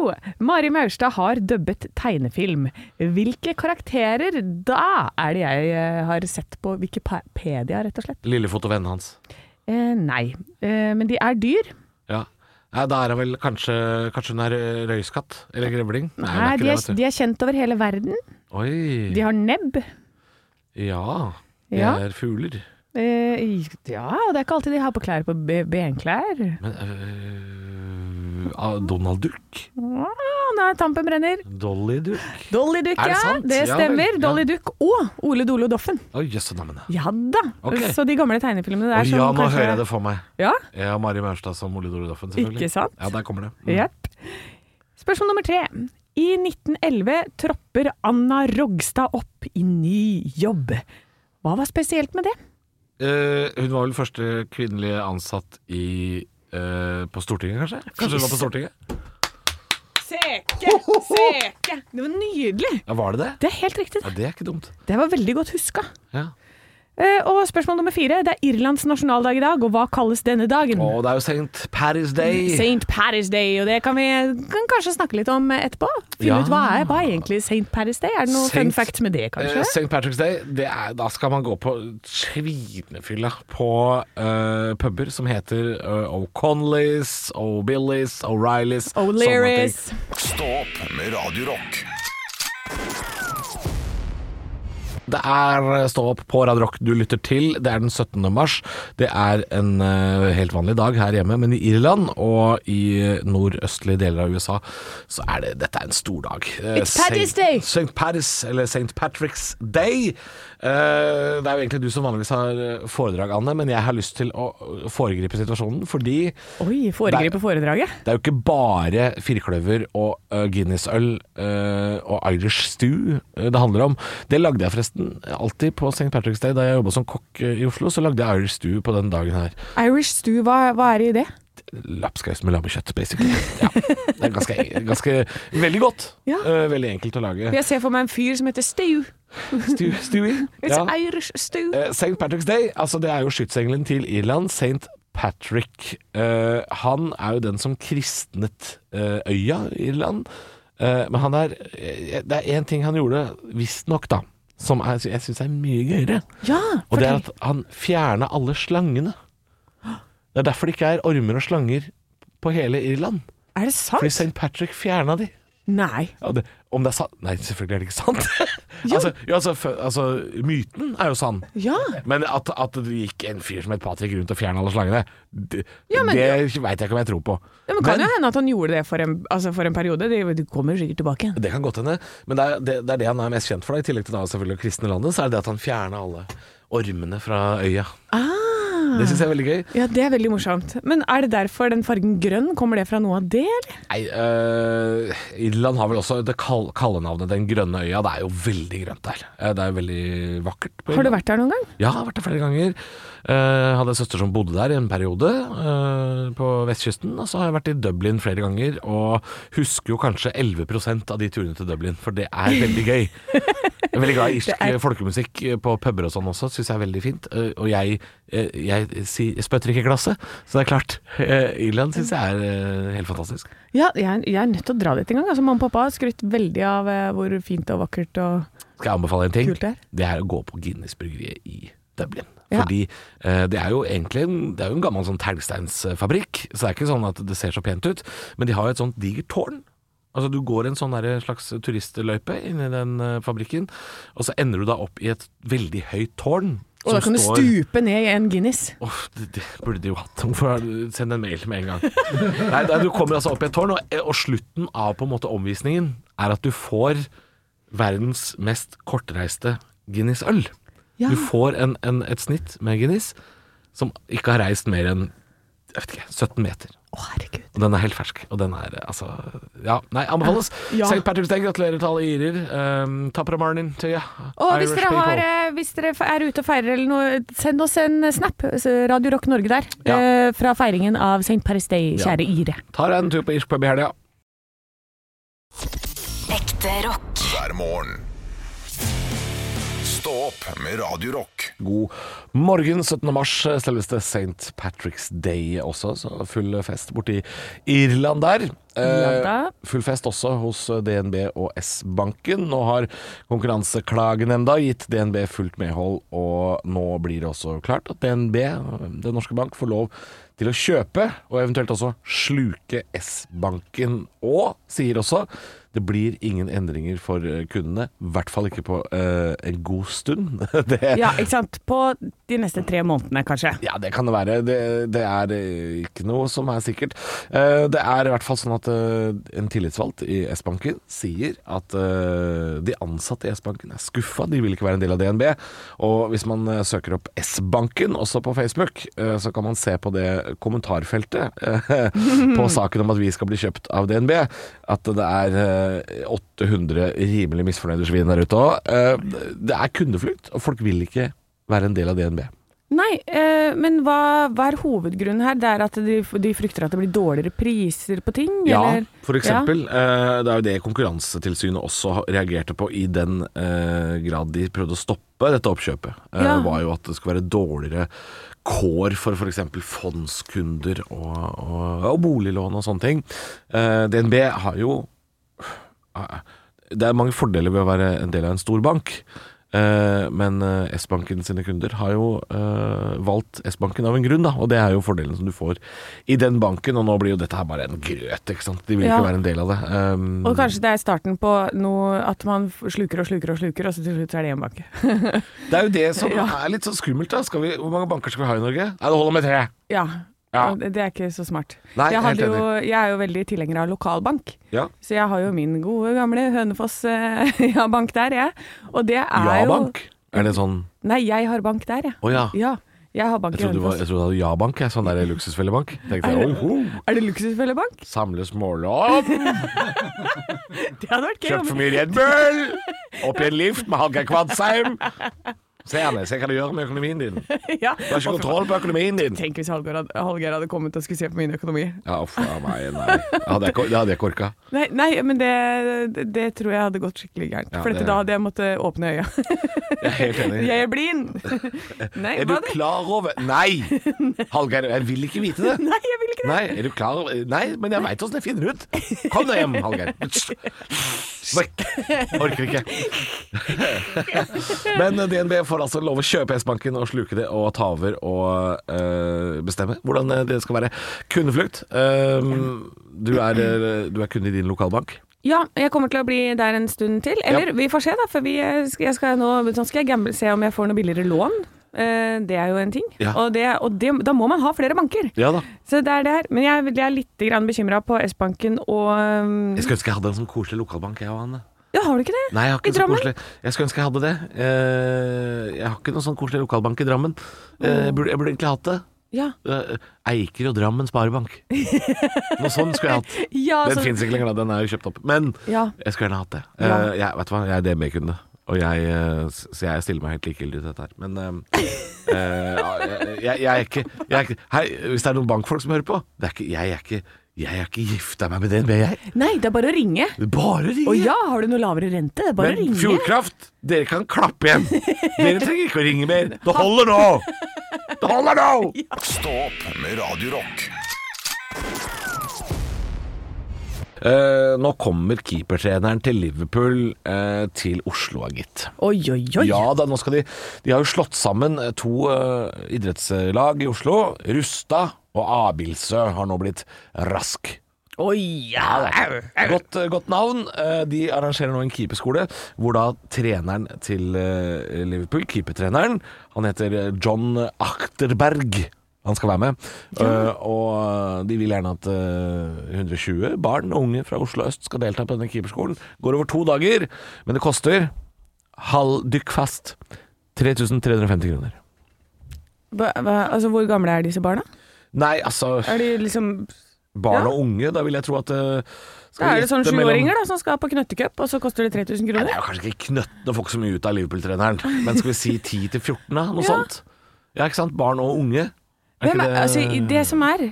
Speaker 5: Mari Maurstad har dubbet tegnefilm. Hvilke karakterer da er det jeg eh, har sett på Wikipedia, rett og slett?
Speaker 4: Lillefot og vennene hans.
Speaker 5: Eh, nei, eh, men de er dyr.
Speaker 4: Ja. ja, da er hun vel kanskje Kanskje hun er eh, røyskatt? Eller grevling? hun ikke
Speaker 5: Nei, Eh, de, er,
Speaker 4: det, vet du.
Speaker 5: de er kjent over hele verden.
Speaker 4: Oi.
Speaker 5: De har nebb.
Speaker 4: Ja. De
Speaker 5: Ja.
Speaker 4: er fugler.
Speaker 5: Eh, i- ja, og det er ikke alltid de har på klær på be- benklær.
Speaker 4: Men øh, ah, Donald Duck?
Speaker 5: Ah, nei, tampen brenner.
Speaker 4: Dolly Duck?
Speaker 5: Dolly Duck,
Speaker 4: Er det
Speaker 5: ja.
Speaker 4: sant?
Speaker 5: Det
Speaker 4: Ja vel,
Speaker 5: stemmer.
Speaker 4: ja.
Speaker 5: Dolly Duck og Ole Dolo Doffen.
Speaker 4: Å, jøsse navn. Å
Speaker 5: Ja da.
Speaker 4: Ok.
Speaker 5: Så de gamle tegnefilmene der
Speaker 4: ja, nå hører jeg det for meg.
Speaker 5: Ja,
Speaker 4: Ja, Mari Maurstad som Ole Dorodoffen, selvfølgelig.
Speaker 5: Ikke sant?
Speaker 4: Ja, der kommer det. Mm.
Speaker 5: Jepp. Spørsmål nummer tre. I 1911 tropper Anna Rogstad opp i ny jobb. Hva var spesielt med det?
Speaker 4: Eh, hun var vel første kvinnelige ansatt i eh, på Stortinget, kanskje? Kanskje hun var på Stortinget?
Speaker 5: Seke! Seke! Det var nydelig!
Speaker 4: Ja, Var det det?
Speaker 5: Det er helt riktig.
Speaker 4: Ja, Det er ikke dumt.
Speaker 5: Det var veldig godt huska.
Speaker 4: Ja.
Speaker 5: Eh, Og spørsmål nummer fire. Det er Irlands nasjonaldag i dag, og hva kalles denne dagen?
Speaker 4: Og det er jo St. Paris Day.
Speaker 5: St. Paris Day, og det kan vi kan kanskje snakke litt om etterpå. Finne
Speaker 4: Ja.
Speaker 5: ut hva er, hva er egentlig St. Paris Day? Er det noen fun
Speaker 4: Saint-
Speaker 5: facts med det,
Speaker 4: Eh,
Speaker 5: kanskje?
Speaker 4: St. Patrick's Day, det er, da skal man gå på svinefylla på eh, puber som heter eh, O'Conleys, O'Billies, O'Reillys sånne ting.
Speaker 5: O'Learys.
Speaker 2: Stå opp med Radio Rock.
Speaker 4: Det er eh, Stå opp på Radio Rock du lytter til. Det er den 17. mars. Det er en eh, helt vanlig dag her hjemme, men i Irland og i eh, nordøstlige deler av USA så er det dette er en stor dag. Eh,
Speaker 5: It's Paddy's Day.
Speaker 4: St. Paris, eller St. Patrick's Day. Eh, det er jo egentlig du som vanligvis har eh, foredrag, Anne, men jeg har lyst til å eh, foregripe situasjonen fordi
Speaker 5: Oi, foregripe foredraget.
Speaker 4: det er jo ikke bare firkløver og eh, Guinness-øl eh, og Irish stew eh, det handler om. Det lagde jeg forresten alltid på St. Patrick's Day da jeg jobba som kokk eh, i Oslo. Så lagde jeg Irish stew på den dagen her.
Speaker 5: Irish stew, hva, hva er det i det?
Speaker 4: Lapskaus med lammekjøtt, basically. Ja. Det er ganske, ganske Veldig godt.
Speaker 5: Ja.
Speaker 4: Eh, veldig enkelt å lage.
Speaker 5: Jeg ser for meg en fyr som heter Stew.
Speaker 4: Stew, stewie.
Speaker 5: It's
Speaker 4: Ja.
Speaker 5: Irish stew.
Speaker 4: Eh, St. Patrick's Day, altså det er jo skytsengelen til Irland, St. Patrick. Eh, han er jo den som kristnet eh, øya Irland. Eh, men han er eh, Det er én ting han gjorde, visstnok, da, som er, jeg syns er mye gøyere.
Speaker 5: Ja,
Speaker 4: Og det er
Speaker 5: fortell.
Speaker 4: at han fjerna alle slangene. Det er derfor det ikke er ormer og slanger på hele Irland.
Speaker 5: Er det
Speaker 4: Fordi
Speaker 5: sant?
Speaker 4: St. Patrick fjerna de.
Speaker 5: Nei.
Speaker 4: Ja, det, om det er sant Nei, selvfølgelig er det ikke sant. altså, jo, altså, fø- altså, myten er jo sann.
Speaker 5: Ja.
Speaker 4: Men at, at det gikk en fyr som het Patrick rundt og fjerna alle slangene, det,
Speaker 5: Ja, men-
Speaker 4: det veit jeg ikke om jeg tror på.
Speaker 5: Ja, men kan
Speaker 4: Men-
Speaker 5: jo hende at han gjorde det for en, altså for en periode. De, de kommer jo sikkert tilbake igjen.
Speaker 4: Det kan godt hende, men det er det, det er det han er mest kjent for. Da. I tillegg til da selvfølgelig å kristne landet, så er det det at han fjerna alle ormene fra øya.
Speaker 5: Ah.
Speaker 4: Det syns jeg er veldig gøy.
Speaker 5: Ja, det er veldig morsomt. Men er det derfor den fargen grønn? Kommer det fra noe av det, eller?
Speaker 4: Nei, øh, Irland har vel også det kall kallenavnet Den grønne øya. Det er jo veldig grønt der. Eh, Det er jo veldig vakkert. på
Speaker 5: Har du
Speaker 4: Irland.
Speaker 5: vært der noen gang?
Speaker 4: Ja, jeg har vært der flere ganger. Eh, hadde en søster som bodde der i en periode eh, på vestkysten. Og så har jeg vært i Dublin flere ganger, og husker jo kanskje 11 av de turene til Dublin, for det er veldig gøy. Jeg er veldig glad i irsk
Speaker 5: Det er-
Speaker 4: folkemusikk på puber og sånn også, syns jeg er veldig fint. Eh, og jeg, eh, jeg, si- spytter ikke i glasset, så det er klart. eh, Irland syns jeg er eh, helt fantastisk.
Speaker 5: Ja, jeg, jeg er nødt til å dra dit en gang. Altså, Mamma og pappa har skrytt veldig av eh, hvor fint og vakkert og
Speaker 4: Skal jeg anbefale en ting?
Speaker 5: Kult det er.
Speaker 4: Det er å gå på Guinness-bryggeriet i Dublin.
Speaker 5: Ja.
Speaker 4: Fordi eh, det er jo egentlig en, det er jo en gammel sånn teglsteinsfabrikk, så det er ikke sånn at det ser så pent ut. Men de har jo et sånt digert tårn. Altså Du går en sånn der slags eh, turistløype inni den eh, fabrikken, og så ender du da opp i et veldig høyt tårn.
Speaker 5: Og da kan du
Speaker 4: står-
Speaker 5: stupe ned i en Guinness.
Speaker 4: Åh, det, det burde de jo hatt. Hvorfor har du- Send en mail med en gang. Nei, nei, Du kommer altså opp i et tårn, og, og slutten av på en måte omvisningen er at du får verdens mest kortreiste Guinness-øl.
Speaker 1: Ja.
Speaker 4: Du får en, en, et snitt med Guinness som ikke har reist mer enn jeg vet ikke, 17 meter.
Speaker 1: Å, herregud.
Speaker 4: Og den er helt fersk. Og den er eh, altså Ja, nei, anbefales.
Speaker 5: Ja.
Speaker 4: St. Patrick's Day, gratulerer til alle irer. Um, Tapra Marnin til ja.
Speaker 5: Og hvis
Speaker 4: Irish
Speaker 5: dere, har,
Speaker 4: people.
Speaker 5: eh, hvis dere er ute og feirer eller noe, send oss en snap. Radio Rock Norge der.
Speaker 4: Ja.
Speaker 5: eh, Fra feiringen av St. Paris Day,
Speaker 4: Ja.
Speaker 5: kjære Ire.
Speaker 4: Tar en tur på irsk pub i helga.
Speaker 6: Ekte rock.
Speaker 2: hver morgen. Stå opp med Radio Rock.
Speaker 4: God morgen, 17. mars, selveste St. Patrick's Day også, så full fest borti Irland der.
Speaker 5: Irland,
Speaker 4: Eh, full fest også hos DNB og S-banken. Nå har Konkurranseklagenemnda gitt DNB fullt medhold, og nå blir det også klart at DNB, Den norske bank, får lov til å kjøpe, og eventuelt også sluke S-banken. Og sier også det blir ingen endringer for eh, kundene, i hvert fall ikke på eh, en god stund. Det,
Speaker 5: Ja, ikke sant. På de neste tre månedene, kanskje.
Speaker 4: ja, det kan det være. Det, det er eh, ikke noe som er sikkert. Eh, Det er i hvert fall sånn at eh, en tillitsvalgt i S-banken sier at eh, de ansatte i S-banken er skuffa, de vil ikke være en del av DNB. Og hvis man eh, søker opp S-banken også på Facebook, eh, så kan man se på det kommentarfeltet eh, på saken om at vi skal bli kjøpt av DNB, at det er eh, 800 rimelig misfornøyde svin der ute òg. Det er kundeflukt, og folk vil ikke være en del av DNB.
Speaker 5: Nei, eh, men hva, hva er hovedgrunnen her? Det er at de, de frykter at det blir dårligere priser på ting? eller?
Speaker 4: Ja, for eksempel. Eh, Det er jo det Konkurransetilsynet også har- reagerte på i den eh, grad de prøvde å stoppe dette oppkjøpet. Eh,
Speaker 5: Ja.
Speaker 4: Var jo at det skulle være dårligere kår for f.eks. fondskunder og, og, og boliglån og sånne ting. Eh, DNB har jo det er mange fordeler ved å være en del av en stor bank. Eh, men eh, S-banken sine kunder har jo eh, valgt S-banken av en grunn, da. Og det er jo fordelen som du får i den banken. Og nå blir jo dette her bare en grøt, ikke sant. De vil
Speaker 5: Ja.
Speaker 4: ikke være en del av det. Um,
Speaker 5: Og kanskje det er starten på noe at man sluker og sluker og sluker, og så til slutt så er det én bank.
Speaker 4: Det er jo det som er litt sånn skummelt, da. Skal vi, hvor mange banker skal vi ha i Norge? Nei, det holder med tre.
Speaker 5: Ja.
Speaker 4: Ja.
Speaker 5: og Det det er ikke så smart.
Speaker 4: Nei,
Speaker 5: jeg,
Speaker 4: helt
Speaker 5: hadde jo,
Speaker 4: enig.
Speaker 5: jeg er jo veldig tilhenger av lokalbank.
Speaker 4: Ja.
Speaker 5: Så jeg har jo min gode gamle Hønefoss eh, ja, bank der, jeg. Og det er jo
Speaker 4: Ja-bank? Er det sånn
Speaker 5: Nei, jeg har bank der, jeg.
Speaker 4: Å ja.
Speaker 5: Ja, jeg har bank
Speaker 4: Jeg
Speaker 5: i
Speaker 4: trodde, det var,
Speaker 5: Hønefoss.
Speaker 4: jeg trodde det var ja-bank, jeg. Sånn der luksusfellebank. Tenkte jeg, oh, oh,
Speaker 5: Er det luksusfellebank?
Speaker 4: samle smålån,
Speaker 5: Det hadde vært gøy.
Speaker 4: kjøpt for
Speaker 5: om-
Speaker 4: mye Red Bull, opp i en lift med Hallgeir Kvadsheim. Se, Anne, se hva du gjør med økonomien din. Du
Speaker 5: Ja.
Speaker 4: har ikke kontroll på økonomien din.
Speaker 5: Tenk hvis Hallgeir hadde, Hallgeir hadde kommet og skulle se på min økonomi.
Speaker 4: Ja, uff a meg, nei. Det hadde jeg ikke- det hadde jeg ikke orka.
Speaker 5: Nei, nei men det, det, det tror jeg hadde gått skikkelig gærent.
Speaker 4: Ja,
Speaker 5: for dette,
Speaker 4: det-
Speaker 5: da hadde jeg måttet åpne øya.
Speaker 4: Jeg er helt enig.
Speaker 5: Jeg er blind! Nei,
Speaker 4: Er du
Speaker 5: hva det?
Speaker 4: klar over Nei! Hallgeir, jeg vil ikke vite det.
Speaker 5: Nei, jeg vil ikke det.
Speaker 4: Nei, er du klar over Nei, men jeg veit åssen jeg finner ut. Kom deg hjem, Hallgeir. Vekk. Orker ikke. Men DNB får altså lov å kjøpe S-banken og sluke det og ta over og eh, bestemme hvordan det skal være. Kundeflukt. Um, du, er, eh, du er kunde i din lokalbank.
Speaker 5: Ja, jeg kommer til å bli der en stund til. Eller
Speaker 4: Ja.
Speaker 5: vi får se, da. For vi, eh, skal- jeg skal nå, nå skal jeg gamble, se om jeg får noe billigere lån. Eh, det er jo en ting.
Speaker 4: Ja.
Speaker 5: Og, det, og det, da må man ha flere banker.
Speaker 4: Ja da.
Speaker 5: Så det er det her. Men jeg, jeg er litt grann bekymra på S-banken og um,
Speaker 4: Jeg skulle ønske jeg hadde en sånn koselig lokalbank, jeg og Anne.
Speaker 5: Ja, har du ikke det?
Speaker 4: Nei, jeg har
Speaker 5: I
Speaker 4: ikke en så
Speaker 5: Drammen?
Speaker 4: koselig Jeg skulle ønske jeg hadde det. Eh, jeg har ikke noen sånn koselig lokalbank i Drammen. Eh, jeg, burde, jeg burde egentlig hatt det.
Speaker 5: Ja.
Speaker 4: Eh, Eiker og Drammen Sparebank. Noe sånn skulle jeg hatt.
Speaker 5: Ja,
Speaker 4: Den
Speaker 5: altså, så-
Speaker 4: finnes ikke lenger, da. Den er jo kjøpt opp. Men
Speaker 5: Ja.
Speaker 4: jeg skulle gjerne hatt det. Eh,
Speaker 5: Ja.
Speaker 4: jeg, vet du hva, jeg er DB-kunde. Og jeg, eh, s- så jeg stiller meg helt likegyldig til dette her. Men eh, eh, ja, jeg, jeg, jeg er ikke, jeg er ikke Hei, hvis det er noen bankfolk som hører på det er ikke, Jeg er ikke, jeg er ikke gifta meg med DNB, jeg.
Speaker 5: Nei, det er bare å ringe.
Speaker 4: Bare ringe!
Speaker 5: Å ja, har du noe lavere rente? Det er bare å
Speaker 4: Men
Speaker 5: ringe.
Speaker 4: Fjordkraft, dere kan klappe igjen. Dere trenger ikke å ringe mer. Det holder nå! Det holder nå!
Speaker 2: Stå opp med Radio Rock.
Speaker 4: Eh, nå kommer keepertreneren til Liverpool eh, til Oslo, gitt.
Speaker 1: Oi, oi, oi.
Speaker 4: Ja da, nå skal de De har jo slått sammen to eh, idrettslag i Oslo. Rusta og Abildsø har nå blitt Rask.
Speaker 5: Oi, ja.
Speaker 4: Godt, godt navn. Eh, De arrangerer nå en keeperskole hvor da treneren til eh, Liverpool, keepertreneren, han heter eh, John Achterberg. Han skal være med. Eh, Og de vil gjerne at eh, 120 barn og unge fra Oslo øst skal delta på denne keeperskolen. Går over to dager, men det koster halv dykk fast 3350 kroner.
Speaker 5: Hva, hva- altså, hvor gamle er disse barna?
Speaker 4: Nei, altså
Speaker 5: Er de liksom
Speaker 4: Barn
Speaker 5: Ja.
Speaker 4: og unge, da vil jeg tro at eh, skal
Speaker 5: Da
Speaker 4: vi
Speaker 5: er det sånn
Speaker 4: gjette mellom-
Speaker 5: sjuåringer da, som skal på knøttecup, og så koster det 3000
Speaker 4: Nei, det
Speaker 5: kroner?
Speaker 4: er jo kanskje ikke knøttene og får ikke så mye ut av Liverpool-treneren, men skal vi si 10 til 14, da? Noe
Speaker 5: Ja.
Speaker 4: sånt? Ja, ikke sant? Barn og unge. Er
Speaker 5: Hvem
Speaker 4: ikke
Speaker 5: er, altså, i- det som er,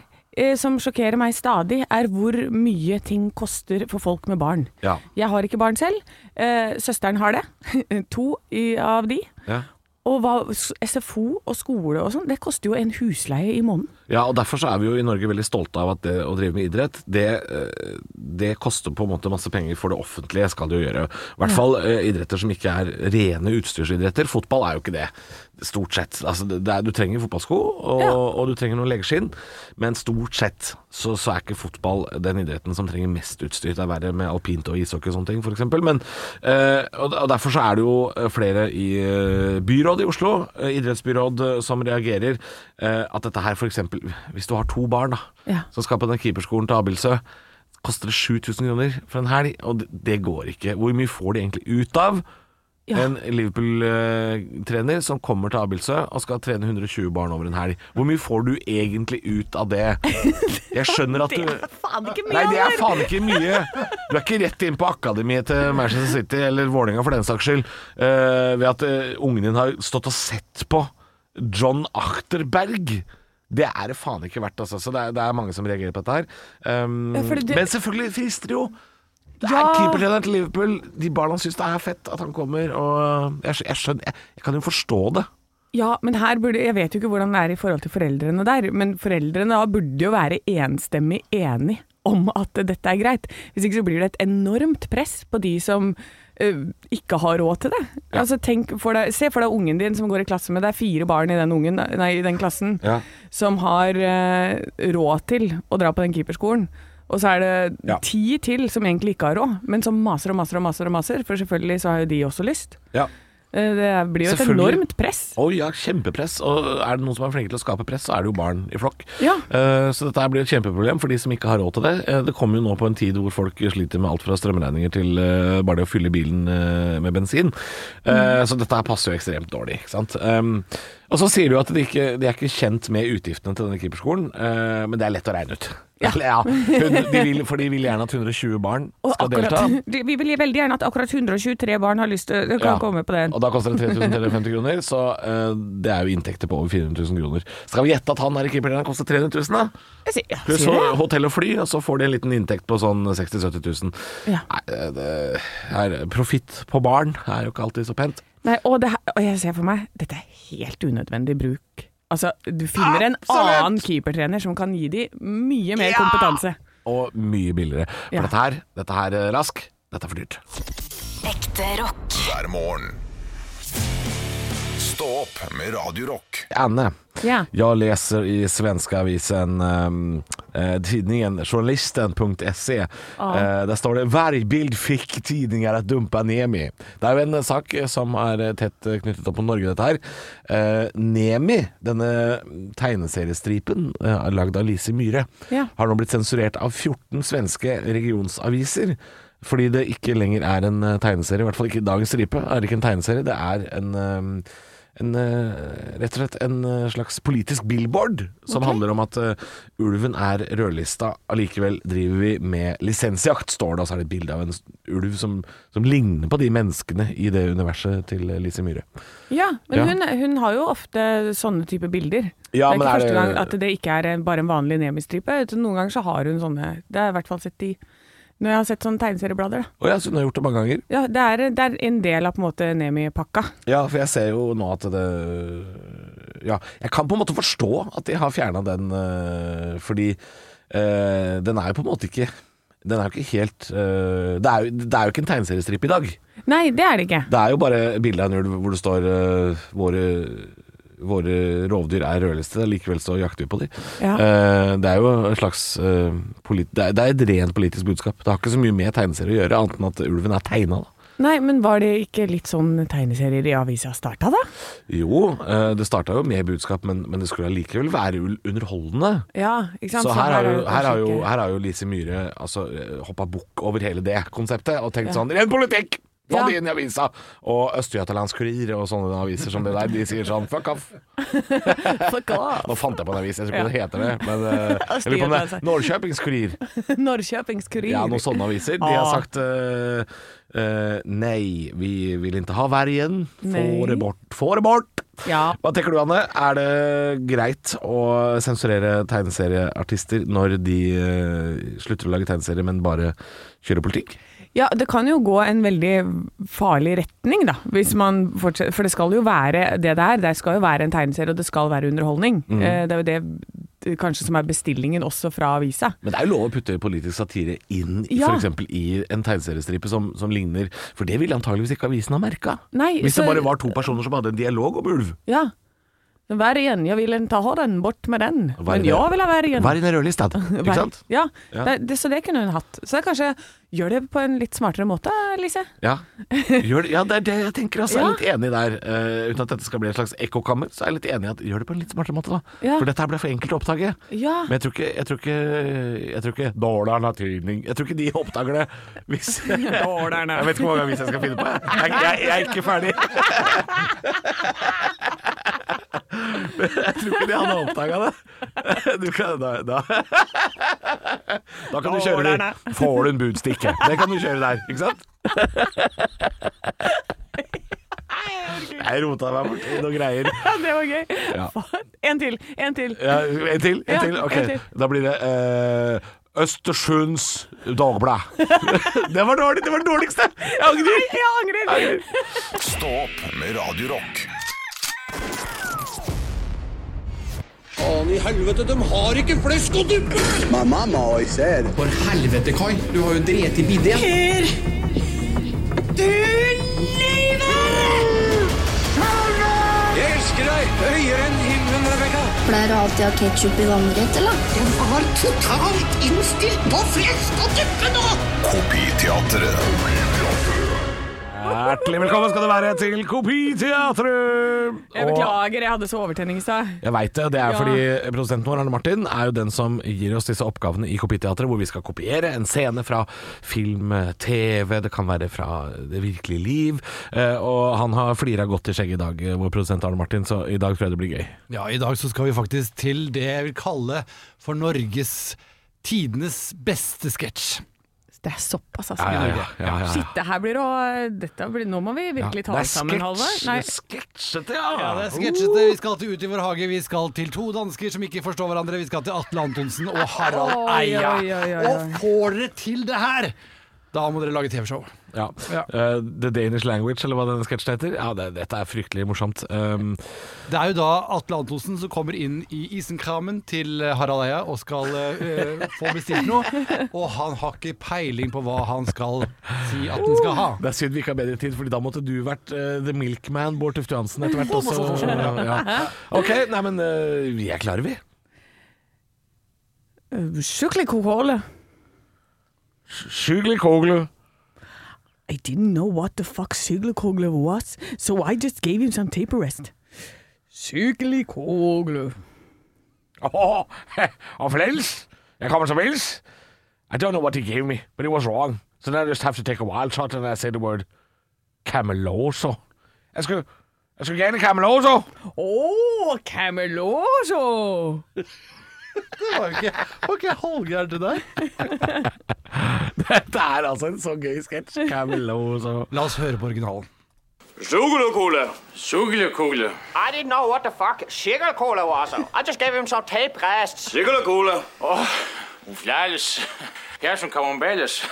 Speaker 5: eh, som sjokkerer meg stadig, er hvor mye ting koster for folk med barn.
Speaker 4: Ja.
Speaker 5: Jeg har ikke barn selv. Eh, søsteren har det. to i, av de.
Speaker 4: Ja.
Speaker 5: Og hva, s- SFO og skole og sånn, det koster jo en husleie i måneden.
Speaker 4: ja, og derfor så er vi jo i Norge veldig stolte av at det å drive med idrett, det, eh, det koster på en måte masse penger for det offentlige, skal det jo gjøre. I hvert fall eh, idretter som ikke er rene utstyrsidretter. Fotball er jo ikke det, stort sett. Altså, det det er, du trenger fotballsko, og,
Speaker 5: Ja.
Speaker 4: og du trenger noen legeskinn, men stort sett så, så er ikke fotball den idretten som trenger mest utstyr. Det er verre med alpint og ishockey og sånne ting, f.eks. Men eh, og og derfor så er det jo eh, flere i eh, byrådet i Oslo, eh, idrettsbyråd, eh, som reagerer eh, at dette her f.eks. Hvis du har to barn da,
Speaker 5: Ja.
Speaker 4: som skal på den keeperskolen til Abildsø, koster det 7000 kroner for en helg, og det, det går ikke. Hvor mye får de egentlig ut av?
Speaker 5: Ja.
Speaker 4: En Liverpool-trener som kommer til Abildsø og skal trene 120 barn over en helg. Hvor mye får du egentlig ut av det? Jeg skjønner at du
Speaker 5: Faen, ikke mye
Speaker 4: Nei, det er
Speaker 5: alder.
Speaker 4: faen ikke mye. Du er ikke rett inn på akademiet til Manchester City eller Vålerenga for den saks skyld eh, ved at eh, ungen din har stått og sett på John Achterberg. Det er det faen ikke verdt, altså. Så det er, det er mange som reagerer på dette her. Um,
Speaker 5: Ja, fordi det-
Speaker 4: Men selvfølgelig frister det jo. Det er
Speaker 5: Ja.
Speaker 4: keepertreneren til Liverpool. De barna syns det er fett at han kommer, og jeg, skj- jeg skjønner jeg, jeg kan jo forstå det.
Speaker 5: Ja, men her burde, jeg vet jo ikke hvordan det er i forhold til foreldrene der, men foreldrene da burde jo være enstemmig enig om at dette er greit. Hvis ikke så blir det et enormt press på de som eh, ikke har råd til det. Altså, tenk for deg, se for deg ungen din som går i klasse med, det er fire barn i den, ungen, nei, i den klassen
Speaker 4: Ja.
Speaker 5: som har eh, råd til å dra på den keeperskolen. Og så er det
Speaker 4: Ja.
Speaker 5: ti til som egentlig ikke har råd, men som maser og maser og maser, og maser for selvfølgelig så har jo de også lyst.
Speaker 4: Ja.
Speaker 5: Eh, Det blir jo et
Speaker 4: Selvfølgelig.
Speaker 5: enormt press.
Speaker 4: Å ja, kjempepress. Og er det noen som er flinke til å skape press, så er det jo barn i flokk.
Speaker 5: Ja.
Speaker 4: Eh, så dette her blir et kjempeproblem for de som ikke har råd til det. Eh, det kommer jo nå på en tid hvor folk sliter med alt fra strømregninger til eh, bare det å fylle bilen eh, med bensin.
Speaker 5: Mm.
Speaker 4: Eh, Så dette her passer jo ekstremt dårlig, ikke sant. Um, og så sier du at de, ikke, de er ikke kjent med utgiftene til denne keeperskolen, eh, men det er lett å regne ut. Ja. hun, de vil, for de vil gjerne at 120 barn
Speaker 5: Og
Speaker 4: skal
Speaker 5: akkurat-
Speaker 4: delta.
Speaker 5: De- Vi vil veldig gjerne at akkurat 123 barn har lyst til kan
Speaker 4: Ja.
Speaker 5: komme på den.
Speaker 4: Og da koster det 3350 kroner, så eh, det er jo inntekter på over 400 000 kroner. Skal vi gjette at han her i keepertreneren koster 300 000, da?
Speaker 5: Jeg sier, ja,
Speaker 4: Pluss
Speaker 5: sier
Speaker 4: ho-
Speaker 5: det.
Speaker 4: hotell og fly, og så får de en liten inntekt på sånn 60 000-70 000.
Speaker 5: Ja.
Speaker 4: Nei, det- det er- eh, Profitt på barn er jo ikke alltid så pent.
Speaker 5: Nei, og, det, her- og jeg ser for meg, dette er helt unødvendig bruk. Altså, du finner en
Speaker 4: Absolutt!
Speaker 5: annen keepertrener som kan gi de mye mer kompetanse.
Speaker 4: Og mye billigere. For
Speaker 5: Ja.
Speaker 4: dette her, dette her, eh, Rask, dette er for dyrt.
Speaker 6: Ekte rock.
Speaker 2: hver morgen. Stå opp med Radio Rock.
Speaker 4: Anne,
Speaker 5: Ja.
Speaker 4: jag läser i svenska avisen ehm, eh, tidningen journalisten.se. Eh, där står det Vargbild fick tidningar att dumpa Nemi. Det är en sak som är tätt knyttet opp på Norge dette her. Eh, Nemi, denne tegneseriestripen eh, lagd av Lise Myhre,
Speaker 5: Ja.
Speaker 4: har nå blitt sensurert av 14 svenske regionsaviser. Fordi det ikke lenger er en eh, tegneserie, i hvert fall ikke dagens stripe. er ikke en tegneserie, Det er en, eh, en eh, rett og slett en eh, slags politisk billboard som handler om at eh, ulven er rødlista, allikevel driver vi med lisensjakt, står det. Og så er det et bilde av en s- ulv som, som ligner på de menneskene i det universet til eh, Lise Myhre.
Speaker 5: Ja, men
Speaker 4: Ja.
Speaker 5: Hun, hun har jo ofte sånne type bilder.
Speaker 4: Ja,
Speaker 5: det er
Speaker 4: men er
Speaker 5: ikke første
Speaker 4: det-
Speaker 5: gang at det ikke er en- bare en vanlig nemistripe. Noen ganger så har hun sånne. Det har jeg i hvert fall sett i Når jeg har sett sånne tegneserieblader, da.
Speaker 4: Og ja, så hun har gjort det mange ganger.
Speaker 5: Ja, det er, det er en del av på en måte Nemi-pakka.
Speaker 4: Ja, for jeg ser jo nå at det Ja, jeg kan på en måte forstå at de har fjerna den, eh, fordi eh, den er jo på en måte ikke Den er jo ikke helt eh, det, er jo, det er jo ikke en tegneseriestripe i dag.
Speaker 5: Nei, det er det ikke.
Speaker 4: Det er jo bare bilde av en ulv hvor det står eh, 'Våre våre rovdyr er rødliste, likevel så jakter vi på dem.
Speaker 5: Ja.
Speaker 4: det er jo en slags eh, polit det, er, det er et rent politisk budskap. Det har ikke så mye med tegneserier å gjøre, annet enn at ulven er tegna.
Speaker 5: Nei, men var det ikke litt sånn tegneserier i avisa starta, da?
Speaker 4: Jo, eh, det starta jo med budskap, men, men det skulle allikevel være ul- underholdende.
Speaker 5: Ja, ikke sant?
Speaker 4: Så her har,
Speaker 5: er
Speaker 4: jo,
Speaker 5: det
Speaker 4: her, har
Speaker 5: kanskje
Speaker 4: jo,
Speaker 5: ikke-
Speaker 4: her har jo Lise Myhre altså, hoppa bukk over hele det konseptet og tenkt sånn Ren politikk! Få
Speaker 5: Ja.
Speaker 4: det inn i avisa! Og Øst-Jøtalands Kurir og sånne aviser som det der, de sier sånn fuck off.
Speaker 5: Fuck off!
Speaker 4: Nå fant jeg på en avis, jeg vet ikke hva det heter det. Men eh, jeg lurer på om det
Speaker 5: Øst-Jøtalands.
Speaker 4: er Norrköpings Kurir.
Speaker 5: Norrköpingskurir.
Speaker 4: Ja, noen sånne aviser. De har
Speaker 5: Ah.
Speaker 4: sagt eh, eh, nei, vi vil ikke ha vergen. Få
Speaker 5: Nei.
Speaker 4: det bort. Få det bort!
Speaker 5: Ja.
Speaker 4: Hva tenker du, Anne? Er det greit å sensurere tegneserieartister når de eh, slutter å lage tegneserier, men bare kjører politikk?
Speaker 5: Ja, det kan jo gå en veldig farlig retning, da. Hvis man fortsetter, for det skal jo være det det er. Det skal jo være en tegneserie, og det skal være underholdning.
Speaker 4: Mhm.
Speaker 5: Eh, Det er jo det eh, kanskje som er bestillingen også fra avisa.
Speaker 4: Men det er jo lov å putte politisk satire inn i-
Speaker 5: Ja.
Speaker 4: for eksempel i en tegneseriestripe som, som ligner, for det ville antageligvis ikke avisen ha merka.
Speaker 5: Nei,
Speaker 4: Hvis
Speaker 5: så-
Speaker 4: det bare var to personer som hadde en dialog om ulv.
Speaker 5: Ja. Vergen, jeg vil ta ha den, bort med den. Men
Speaker 4: Vergen.
Speaker 5: jeg vil ha vergen.
Speaker 4: Vær i den rødlista, ikke
Speaker 5: Vergen.
Speaker 4: sant?
Speaker 5: Ja,
Speaker 4: Ja.
Speaker 5: Det, det, så det kunne hun hatt. Så det er kanskje gjør det på en litt smartere måte, Lise.
Speaker 4: Ja. Gjør det, ja, det er det jeg tenker. Altså. Jeg
Speaker 5: Ja.
Speaker 4: er litt enig der. Eh, uten at dette skal bli et slags ekkokammer, så er jeg litt enig i at gjør det på en litt smartere måte, da.
Speaker 5: Ja.
Speaker 4: For dette her ble for enkelt å oppdage.
Speaker 5: Ja.
Speaker 4: Men jeg tror ikke Jeg tror ikke, jeg tror ikke Dårland har tydning Jeg tror ikke de oppdager det hvis
Speaker 5: Dårlerne.
Speaker 4: Jeg vet ikke hvor mange aviser jeg skal finne på. jeg. Jeg, jeg, jeg er ikke ferdig. Men jeg tror ikke de hadde oppdaga det. Du kan, da, da. da kan du kjøre det. Får du en budstikke? Det kan du kjøre der, ikke sant? Jeg rota meg bort i noen greier.
Speaker 5: Ja, det var gøy.
Speaker 4: Ja.
Speaker 5: En til, en til.
Speaker 4: Ja, en til? En
Speaker 5: Ja,
Speaker 4: til? Ok,
Speaker 5: en til.
Speaker 4: da blir det eh, Østersunds Dagblad. det var dårlig, det var det dårligste! Jeg angrer!
Speaker 5: Jeg angrer.
Speaker 2: Stå opp med Radio Rock.
Speaker 8: Faen i helvete, de har ikke flesk og duppe!
Speaker 9: My mama always said,
Speaker 8: For helvete, Kai. Du har jo drept i bidé. Jeg elsker deg høyere enn himmelen, Rebekka.
Speaker 10: Pleier du alltid å ha ketsjup i vannrett, eller?
Speaker 8: Jeg var totalt innstilt på flesk og duppe nå!
Speaker 2: Kopiteatret.
Speaker 4: Hjertelig velkommen skal du være til Kopiteatret!
Speaker 5: Jeg beklager, jeg hadde så overtenning i stad.
Speaker 4: Jeg veit det. Det er
Speaker 5: Ja.
Speaker 4: fordi produsenten vår, Arne Martin, er jo den som gir oss disse oppgavene i Kopiteatret, hvor vi skal kopiere en scene fra film, TV, det kan være fra det virkelige liv. Eh, og han har flira godt i skjegget i dag, eh, vår produsent Arne Martin, så i dag tror jeg det blir gøy.
Speaker 11: Ja, i dag så skal vi faktisk til det jeg vil kalle for Norges tidenes beste sketsj.
Speaker 5: Det er såpass, altså.
Speaker 4: Ja, ja, ja, ja, ja, ja.
Speaker 5: Shit, det her blir å Dette blir, Nå må vi virkelig ta oss sammen, Halvor. Nei.
Speaker 4: sketsjete, ja!
Speaker 11: Ja, det er sketsjete. Vi skal til Ut i vår hage, vi skal til to dansker som ikke forstår hverandre, vi skal til Atle Antonsen og Harald
Speaker 5: Oi,
Speaker 11: Eia.
Speaker 5: oi, oi, oi, oi.
Speaker 11: Og får dere til det her, da må dere lage TV-show.
Speaker 4: Ja.
Speaker 11: Ja.
Speaker 4: Eh, the Danish Language, eller hva denne sketsjen heter. Ja, det, dette er fryktelig morsomt. Um,
Speaker 11: Det er jo da Atle Antonsen som kommer inn i isenkramen til eh, Harald Eia og skal eh, få bestilt noe, og han har ikke peiling på hva han skal si at han skal ha.
Speaker 4: det er synd vi ikke har bedre tid, Fordi da måtte du vært eh, The Milkman, Bård Tufte Johansen, etter hvert også. Ja, ja. Ok, nei men eh, vi er klare, vi.
Speaker 5: Skikkelig kokole.
Speaker 4: Sjugli kogle.
Speaker 1: I didn't know what the fuck cyclicoglu was, so I just gave him some taper rest.
Speaker 5: Skikkelig kokole.
Speaker 4: Oh, of Lens. Jeg kommer som Lens. I don't know what he gave me, but it was wrong. So then I just have to take a wild shot and I say the word Cameloso. Jeg skulle, jeg skulle gjerne Cameloso.
Speaker 5: Å, Cameloso!
Speaker 11: Var ikke, var ikke Hallgeir det der?
Speaker 4: Dette er altså en så gøy sketsj. Cameloso.
Speaker 11: La oss høre på originalen.
Speaker 8: Suglekola. Suglekola.
Speaker 3: I didn't know what the fuck sugar cola was. I just gave him some tape rests.
Speaker 8: Suglekola. Åh, hun flæles. Jeg som kamerambelles.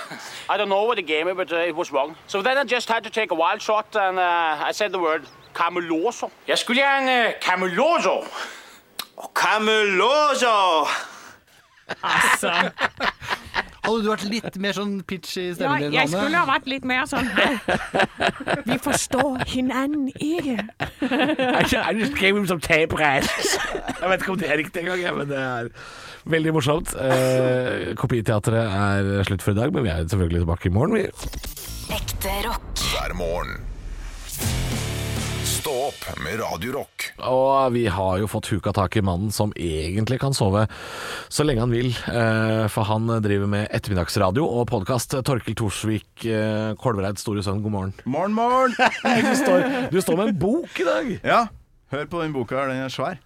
Speaker 3: I don't know what he gave me, but uh, it was wrong. So then I just had to take a wild shot and uh, I said the word cameloso.
Speaker 8: Jeg skulle gjerne Cameloso. Cameloso!
Speaker 5: Altså.
Speaker 11: Hadde du vært litt mer sånn pitch i
Speaker 5: Ja,
Speaker 11: stemmen din,
Speaker 5: jeg skulle ha vært litt mer sånn her. Vi forstår hinanden ikke.
Speaker 4: I just gave him some tape rats. Jeg vet ikke om det er riktig engang, jeg, men det er veldig morsomt. Eh, kopiteatret er slutt for i dag, men vi er selvfølgelig tilbake i morgen. Vi
Speaker 6: Ekte rock.
Speaker 2: hver morgen. Stå opp med Radio Rock.
Speaker 4: Og vi har jo fått huka tak i mannen som egentlig kan sove så lenge han vil. eh, For han driver med ettermiddagsradio og podkast. Torkel Torsvik eh, Kolvereid Store Sønn, god morgen.
Speaker 9: Morgen, morgen!
Speaker 4: Du står, du står med en bok i dag!
Speaker 9: Ja, hør på den boka her, den er svær.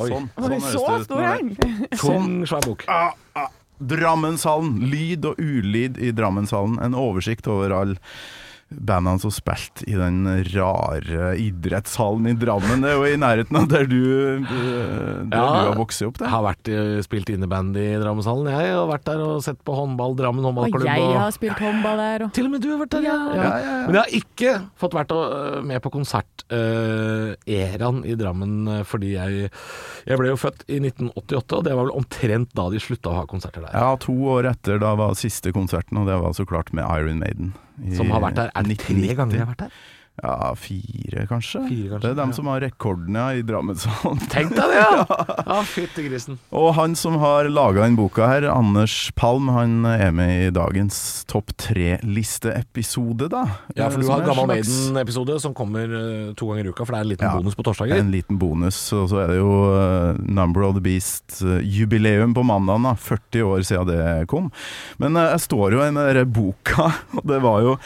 Speaker 9: Sånn. sånn høres
Speaker 5: Så
Speaker 9: det ut
Speaker 5: stor
Speaker 9: når
Speaker 5: er
Speaker 9: det-
Speaker 5: han.
Speaker 4: Tung, svær bok.
Speaker 9: Drammenshallen. Lyd og ulyd i Drammenshallen. En oversikt over alle bandene som spilte i den rare idrettshallen i Drammen. Det er jo i nærheten av der du, eh, der
Speaker 4: Ja.
Speaker 9: du har vokst opp. Det.
Speaker 4: Har vært, eh, spilt inneband i Drammenshallen, jeg. Og vært der og sett på håndball, Drammen håndballklubb. og-
Speaker 5: spilt håndball der.
Speaker 4: Til og med du har vært der, ja.
Speaker 9: Ja, ja, ja.
Speaker 4: Men jeg har ikke fått vært øh, med på konsert øh, Eran i Drammen, øh, fordi jeg, jeg ble jo født i 1988, og det var vel omtrent da de slutta å ha konserter der.
Speaker 9: Ja, to år etter da var siste konserten, og det var så klart med Iron Maiden. i
Speaker 4: Som har vært der er det tre
Speaker 9: 1990.
Speaker 4: ganger jeg har vært der.
Speaker 9: Ja, fire kanskje.
Speaker 4: Fire, kanskje,
Speaker 9: det er dem
Speaker 4: ja.
Speaker 9: som har rekordene i Drammenshallen.
Speaker 4: Tenk deg det, ja! Ja, fytti grisen.
Speaker 9: Og han som har laga den boka her, Anders Palm, han er med i dagens topp tre-listeepisode, da.
Speaker 4: Ja, for du
Speaker 9: Som
Speaker 4: har
Speaker 9: er
Speaker 4: Gammal
Speaker 9: en slags-
Speaker 4: Maiden-episode som kommer øh, to ganger i uka, for det er en liten
Speaker 9: Ja.
Speaker 4: bonus på torsdager.
Speaker 9: En liten bonus, og så er det jo eh, Number of the Beast-jubileum på mandagen, da. 40 år siden det kom. Men eh, jeg står jo i den der boka, og det var jo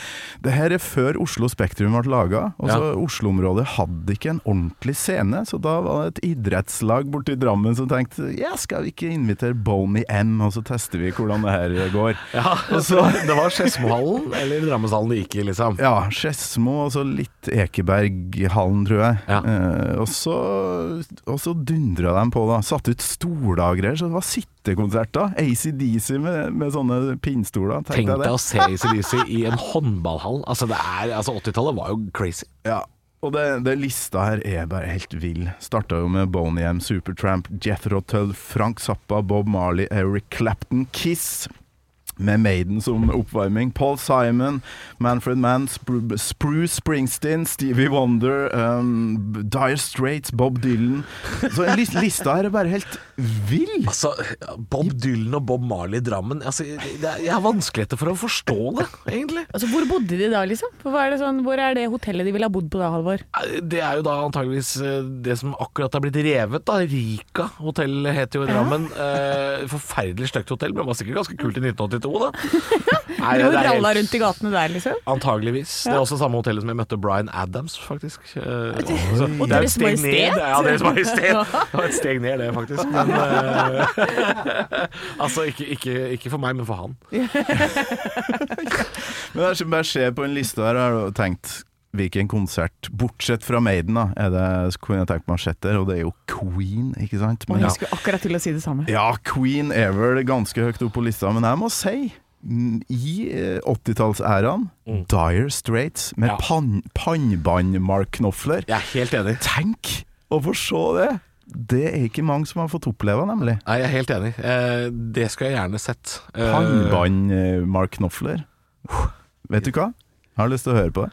Speaker 9: Det her er før Oslo Spektrum ble laga.
Speaker 4: Ja.
Speaker 9: Oslo-området hadde ikke en ordentlig scene, så da var det et idrettslag borte i Drammen som tenkte ja, skal vi ikke invitere Boney M, og så tester vi hvordan det her går.
Speaker 4: Ja,
Speaker 9: Og så,
Speaker 4: det var Skedsmohallen eller Drammenshallen det gikk i, liksom.
Speaker 9: ja, Skedsmo og så litt Ekeberghallen, tror jeg.
Speaker 4: Ja.
Speaker 9: Eh, og så, og så dundra de på, da. Satte ut stoler og greier, så det var sittekonsert da. ACDC med, med sånne pinnstoler.
Speaker 4: Tenk
Speaker 9: Tenkte jeg
Speaker 4: deg
Speaker 9: det.
Speaker 4: å se ACDC i en håndballhall. Altså, det er- altså 80-tallet var jo crazy.
Speaker 9: Ja, og det, det lista her er bare helt vill. Starta jo med Boney M, Supertramp, Jethro Tull, Frank Zappa, Bob Marley, Eric Clapton, Kiss. Med Maiden som oppvarming. Paul Simon, Manfred Mann, Spru- Spruce Springsteen, Stevie Wonder, um, Dire Straits, Bob Dylan. Så en lis- lista her er bare helt vill.
Speaker 4: Altså, Bob Dylan og Bob Marley i Drammen altså, det er, Jeg har vanskeligheter for å forstå det, egentlig.
Speaker 5: Altså, hvor bodde de da, liksom? For hva er det sånn, hvor er det hotellet de ville ha bodd på da, Halvor?
Speaker 4: Det er jo da antageligvis eh, det som akkurat er blitt revet, da. Rika hotell heter jo i Drammen. Eh, forferdelig stygt hotell, men var sikkert ganske kult i 1982, da. Nei, det
Speaker 5: De
Speaker 4: er
Speaker 5: ralla
Speaker 4: helt-
Speaker 5: rundt i gatene der, liksom.
Speaker 4: Antageligvis. Det er også samme hotellet som jeg møtte Bryan Adams, faktisk. Eh, så det er et
Speaker 5: Deres
Speaker 4: steg
Speaker 5: Majestet?
Speaker 4: ned. Ja, Deres Majestet. Det var et steg ned, det, faktisk. Men, eh, altså, ikke, ikke, ikke for meg, men for han.
Speaker 9: Men jeg bare ser på en liste her og har jeg tenkt Hvilken konsert, bortsett fra Maiden, da, er det kunne jeg tenkt meg å sette der? Og det er jo Queen, ikke sant?
Speaker 5: Og
Speaker 9: Men-
Speaker 5: jeg skulle akkurat til å si det samme.
Speaker 9: Ja, Queen er vel ganske høyt opp på lista, men jeg må si mm, i eh, 80-tallsæraen, Dire Straits med
Speaker 4: Mm. Ja.
Speaker 9: pan pannebåndmarkknofler.
Speaker 4: Jeg er helt enig.
Speaker 9: Tenk å få se det! Det er ikke mange som har fått oppleve, nemlig.
Speaker 4: Nei, jeg er helt enig. Eh, det skulle jeg gjerne sett. Eh, Uh.
Speaker 9: Pannebåndmarkknofler. Vet du hva? Jeg har lyst til å høre på det.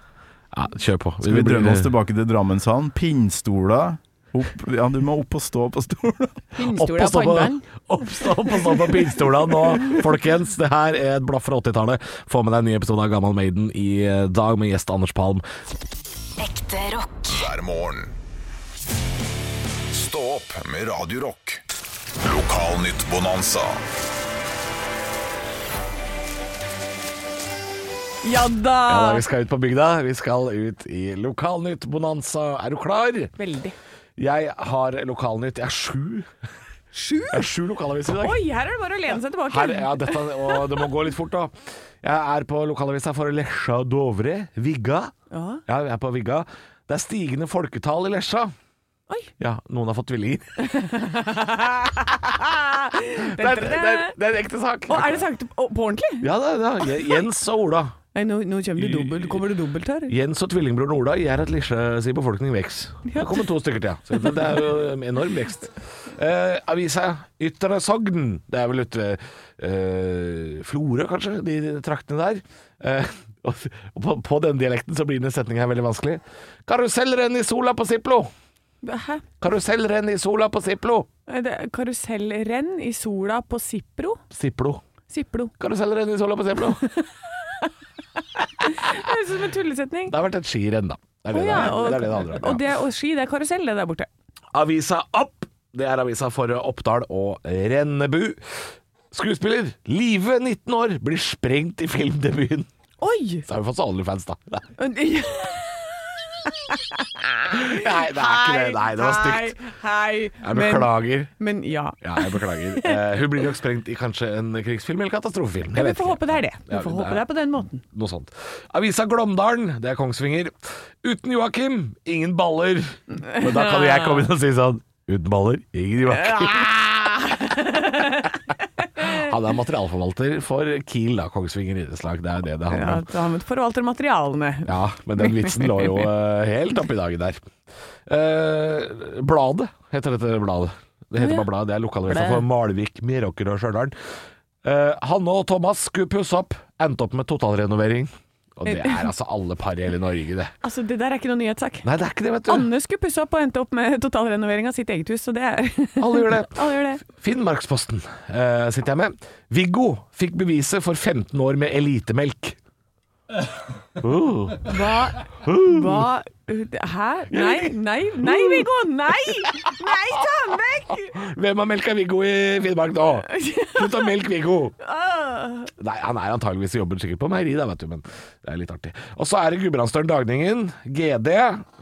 Speaker 4: ja, kjør på.
Speaker 9: Skal vi
Speaker 4: blir-
Speaker 9: drømme oss tilbake til Drammenshallen? Pinnstoler. Opp, ja, du må opp og stå på stolen.
Speaker 4: Opp og stå på, opp, stå- opp og stå på pinstola nå, folkens. Det her er et blaff fra 80-tallet. Få med deg en ny episode av Gammal Maiden i eh, dag med gjest Anders Palm.
Speaker 6: Ekte rock.
Speaker 2: hver morgen. Stå opp med Radio Rock. Lokalnytt Bonanza.
Speaker 5: Ja
Speaker 4: Ja, da,
Speaker 5: da!
Speaker 4: vi skal ut på bygda. Vi skal ut i Lokalnytt Bonanza. Er du klar?
Speaker 5: Veldig.
Speaker 4: Jeg har Lokalnytt. Jeg er sju. Sju? Jeg er sju lokalaviser i dag.
Speaker 5: Oi, her er det bare å lene seg tilbake.
Speaker 4: Her, ja, dette, og det må gå litt fort, da. Jeg er på lokalavisa for Lesja og Dovre. Vigga. Ja. jeg er på Vigga. Det er stigende folketall i Lesja.
Speaker 5: Oi.
Speaker 4: Ja, noen har fått tvillinger. det, er, det, er, det er en ekte sak.
Speaker 5: Å, er det sagt på på ordentlig?
Speaker 4: Ja, det, er- det. er Jens og Ola.
Speaker 5: Nei, nå, nå kommer, du dobbelt, kommer du dobbelt her.
Speaker 4: Jens og tvillingbroren Ola gjør at Lesja sin befolkning vokser. Det kommer to stykker til, ja. Så det, det er jo en enorm vekst. Eh, avisa Ytre Sogn. Det er vel ute ved eh, Florø, kanskje, de traktene der. Eh, og og på, på den dialekten så blir denne setninga veldig vanskelig. Karusellrenn i sola på Ziplo!
Speaker 5: Hæ?
Speaker 4: Karusellrenn i sola på Ziplo!
Speaker 5: Er det Karusellrenn i sola på Sipro?
Speaker 4: Ziplo.
Speaker 5: Siplo.
Speaker 4: Karusellrenn i sola på Ziplo.
Speaker 5: Det høres ut som en tullesetning.
Speaker 4: Det har vært et skirenn, da. Det er det
Speaker 5: Å ja,
Speaker 4: det, er- det,
Speaker 5: og,
Speaker 4: er det, det handler om.
Speaker 5: og, det, og ski, det er karusell, det der borte.
Speaker 4: Avisa Opp. Det er avisa for Oppdal og Rennebu. Skuespiller Live, 19 år, blir sprengt i filmdebuten.
Speaker 5: Oi!
Speaker 4: Så har vi fått så Onlyfans, da. Nei,
Speaker 5: Nei,
Speaker 4: det er ikke det. Nei, det var stygt.
Speaker 5: Hei, hei.
Speaker 4: Jeg beklager.
Speaker 5: Men, men ja.
Speaker 4: Ja, jeg beklager. Eh, hun blir nok sprengt i kanskje en krigsfilm eller katastrofefilm. Jeg
Speaker 5: Vi
Speaker 4: vet
Speaker 5: får
Speaker 4: ikke.
Speaker 5: håpe det er det. Vi
Speaker 4: Ja,
Speaker 5: får
Speaker 4: det
Speaker 5: håpe
Speaker 4: er-
Speaker 5: det er på den måten.
Speaker 4: Noe sånt. Avisa Glåmdalen, det er Kongsvinger. Uten Joakim, ingen baller. Men da kan jeg komme inn og si sånn Uten baller, ingen Joakim. Han er materialforvalter for Kiel, da. Kongsvinger idrettslag. Det er jo det det handler
Speaker 5: Ja,
Speaker 4: om.
Speaker 5: da har vi forvalter materialene.
Speaker 4: Ja, men den vitsen lå jo eh, helt oppe i dagen der. Eh, bladet heter dette bladet. Det heter bare Bladet. Det er lokalavisa for Malvik, Meråker og Stjørdal. Eh, Hanne og Thomas skulle pusse opp, endte opp med totalrenovering. Og det er altså alle par i hele Norge, det.
Speaker 5: Altså, det der er ikke noen nyhetssak.
Speaker 4: Nei, det er ikke det, vet du.
Speaker 5: Anne skulle pusse opp og endte opp med totalrenovering av sitt eget hus, så det er
Speaker 4: Alle gjør det.
Speaker 5: Alle gjør det.
Speaker 4: Finnmarksposten eh, sitter jeg med. Viggo fikk beviset for 15 år med elitemelk. Uh.
Speaker 5: Hva Hva Hæ? Nei, nei, nei, Viggo! Nei! Nei, ta den vekk!
Speaker 4: Hvem har melka Viggo i Finnmark nå? Slutt å melke Viggo!
Speaker 5: Åh.
Speaker 4: Nei, han er antageligvis jobber sikkert på meieri, da, vet du, men det er litt artig. Og så er det Gudbrandsdølen Dagningen, GD,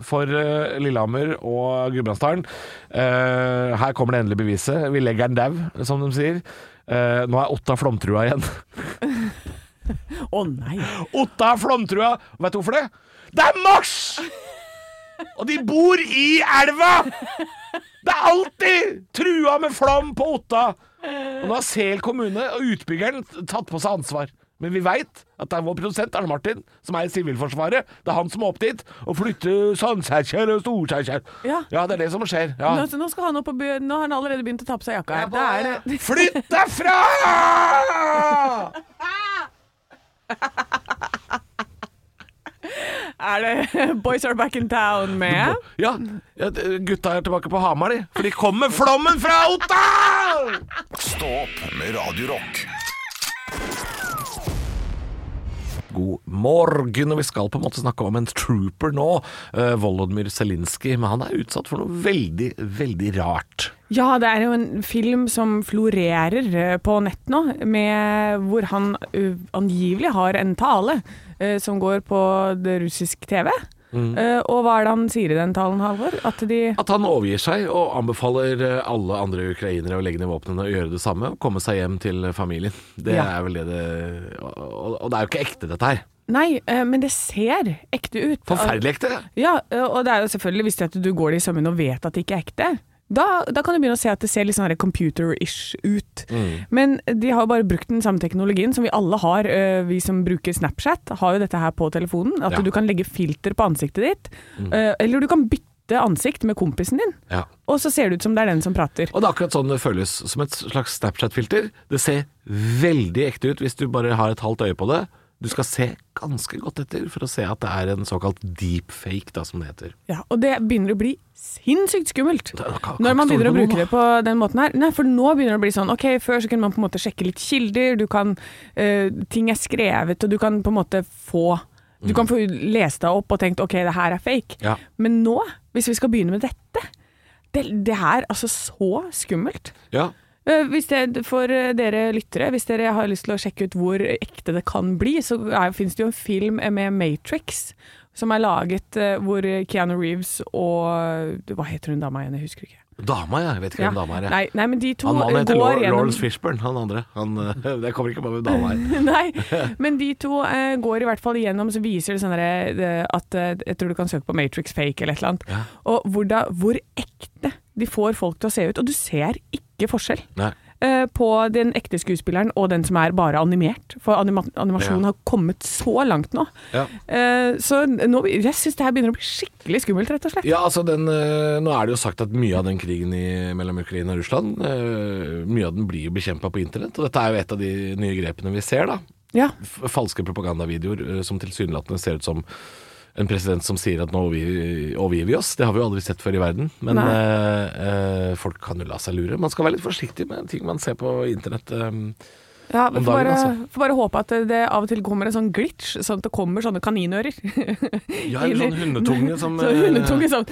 Speaker 4: for eh, Lillehammer og Gudbrandsdalen. Eh, her kommer det endelige beviset. Vi legger den dau, som de sier. Eh, nå er Otta flomtrua igjen.
Speaker 5: Å nei.
Speaker 4: Otta flomtrua! Og Vet du hvorfor det? Det er mars! Og de bor i elva! Det er alltid trua med flom på Otta! Og nå har Sel kommune og utbyggeren tatt på seg ansvar. Men vi veit at det er vår produsent Arne Martin, som er i Sivilforsvaret. Det er han som må opp dit og flytte Sandkjerkjer og Storkjerkjer.
Speaker 5: Ja.
Speaker 4: det er det som skjer. Ja.
Speaker 5: Nå, nå skal han opp og be, Nå har han allerede begynt å ta på seg jakka. her. Da er det
Speaker 4: Flytt deg fra!
Speaker 5: Er det Boys are back in town med
Speaker 4: Ja, ja, gutta er tilbake på Hamar, de. For de kom med flommen fra Otta!
Speaker 2: Stå opp med Radio Rock.
Speaker 4: God morgen, og vi skal på en måte snakke om en trooper nå, eh, Volodymyr Zelinskyj, men han er utsatt for noe veldig, veldig rart.
Speaker 5: Ja, det er jo en film som florerer eh, på nett nå, med, hvor han eh, angivelig har en tale eh, som går på det russisk TV. Eh, og hva er det han sier i den talen, Halvor? At de
Speaker 4: At han overgir seg og anbefaler eh, alle andre ukrainere å legge ned våpnene og gjøre det samme, og komme seg hjem til familien. Det
Speaker 5: Ja.
Speaker 4: er vel det det og, og det er jo ikke ekte, dette her.
Speaker 5: Nei, eh, men det ser ekte ut.
Speaker 4: Forferdelig ekte.
Speaker 5: Ja, eh, og det er jo selvfølgelig hvis det at du går det i sømmene og vet at det ikke er ekte. Da, da kan du begynne å se at det ser litt sånn her computer-ish ut.
Speaker 4: Mm.
Speaker 5: Men de har jo bare brukt den samme teknologien som vi alle har. eh, Vi som bruker Snapchat, har jo dette her på telefonen. At
Speaker 4: Ja. Mm.
Speaker 5: du kan legge filter på ansiktet ditt. eh, Eller du kan bytte ansikt med kompisen din,
Speaker 4: Ja.
Speaker 5: og så ser det ut som det er den som prater.
Speaker 4: Og det er akkurat sånn det føles, som et slags Snapchat-filter. Det ser veldig ekte ut hvis du bare har et halvt øye på det. Du skal se ganske godt etter for å se at det er en såkalt deepfake, da, som det heter.
Speaker 5: Ja, og det begynner å bli sinnssykt skummelt.
Speaker 4: Da kan- kan
Speaker 5: Når man
Speaker 4: ikke stole
Speaker 5: begynner å
Speaker 4: på noen,
Speaker 5: bruke det på den måten her. Nei, for nå begynner det å bli sånn Ok, før så kunne man på en måte sjekke litt kilder, du kan eh, Ting er skrevet, og du kan på en måte få Du kan få lest deg opp og tenkt ok, det her er fake.
Speaker 4: Mm. Ja.
Speaker 5: Men nå, hvis vi skal begynne med dette Det, det er altså så skummelt.
Speaker 4: Ja,
Speaker 5: Eh, Hvis det, for eh, dere lyttere, hvis dere har lyst til å sjekke ut hvor ekte det kan bli, så er, finnes det jo en film med Matrix som er laget eh, hvor Keanu Reeves og eh, Hva heter hun dama igjen, jeg husker ikke.
Speaker 4: dama, ja. Jeg vet ikke
Speaker 5: Ja.
Speaker 4: hvem dama er. jeg.
Speaker 5: Nei, nei, men de to
Speaker 4: han, han
Speaker 5: eh,
Speaker 4: heter
Speaker 5: går
Speaker 4: Lawrence
Speaker 5: gjennom
Speaker 4: Fishburne, han andre. Han, eh, det kommer ikke på hvem dama er.
Speaker 5: Nei, men de to eh, går i hvert fall igjennom, så viser det sånn derre, eh, at eh, Jeg tror du kan søke på Matrix fake eller et eller annet. Og hvor, da, hvor ekte de får folk til å se ut. Og du ser ikke forskjell.
Speaker 4: Nei.
Speaker 5: eh, på den ekte skuespilleren og den som er bare animert. For anima animasjonen
Speaker 4: Ja.
Speaker 5: har kommet så langt nå.
Speaker 4: Ja.
Speaker 5: Eh, så nå, jeg syns det her begynner å bli skikkelig skummelt, rett og slett.
Speaker 4: Ja, altså den, eh, Nå er det jo sagt at mye av den krigen i, mellom Ukraina og Russland eh, Mye av den blir jo bekjempa på internett. Og dette er jo et av de nye grepene vi ser. da
Speaker 5: Ja.
Speaker 4: F Falske propagandavideoer eh, som tilsynelatende ser ut som en president som sier at nå overgir, overgir vi oss. Det har vi jo aldri sett før i verden. Men
Speaker 5: Nei.
Speaker 4: eh, eh, folk kan jo la seg lure. Man skal være litt forsiktig med ting man ser på internett. eh.
Speaker 5: Ja,
Speaker 4: Om
Speaker 5: Får bare,
Speaker 4: dagen, altså.
Speaker 5: får bare håpe at det av og til kommer en sånn glitch, sånn at det kommer sånne kaninører.
Speaker 4: ja, eller sånn hundetunge som
Speaker 5: Så
Speaker 4: eh,
Speaker 5: hundetunge sånn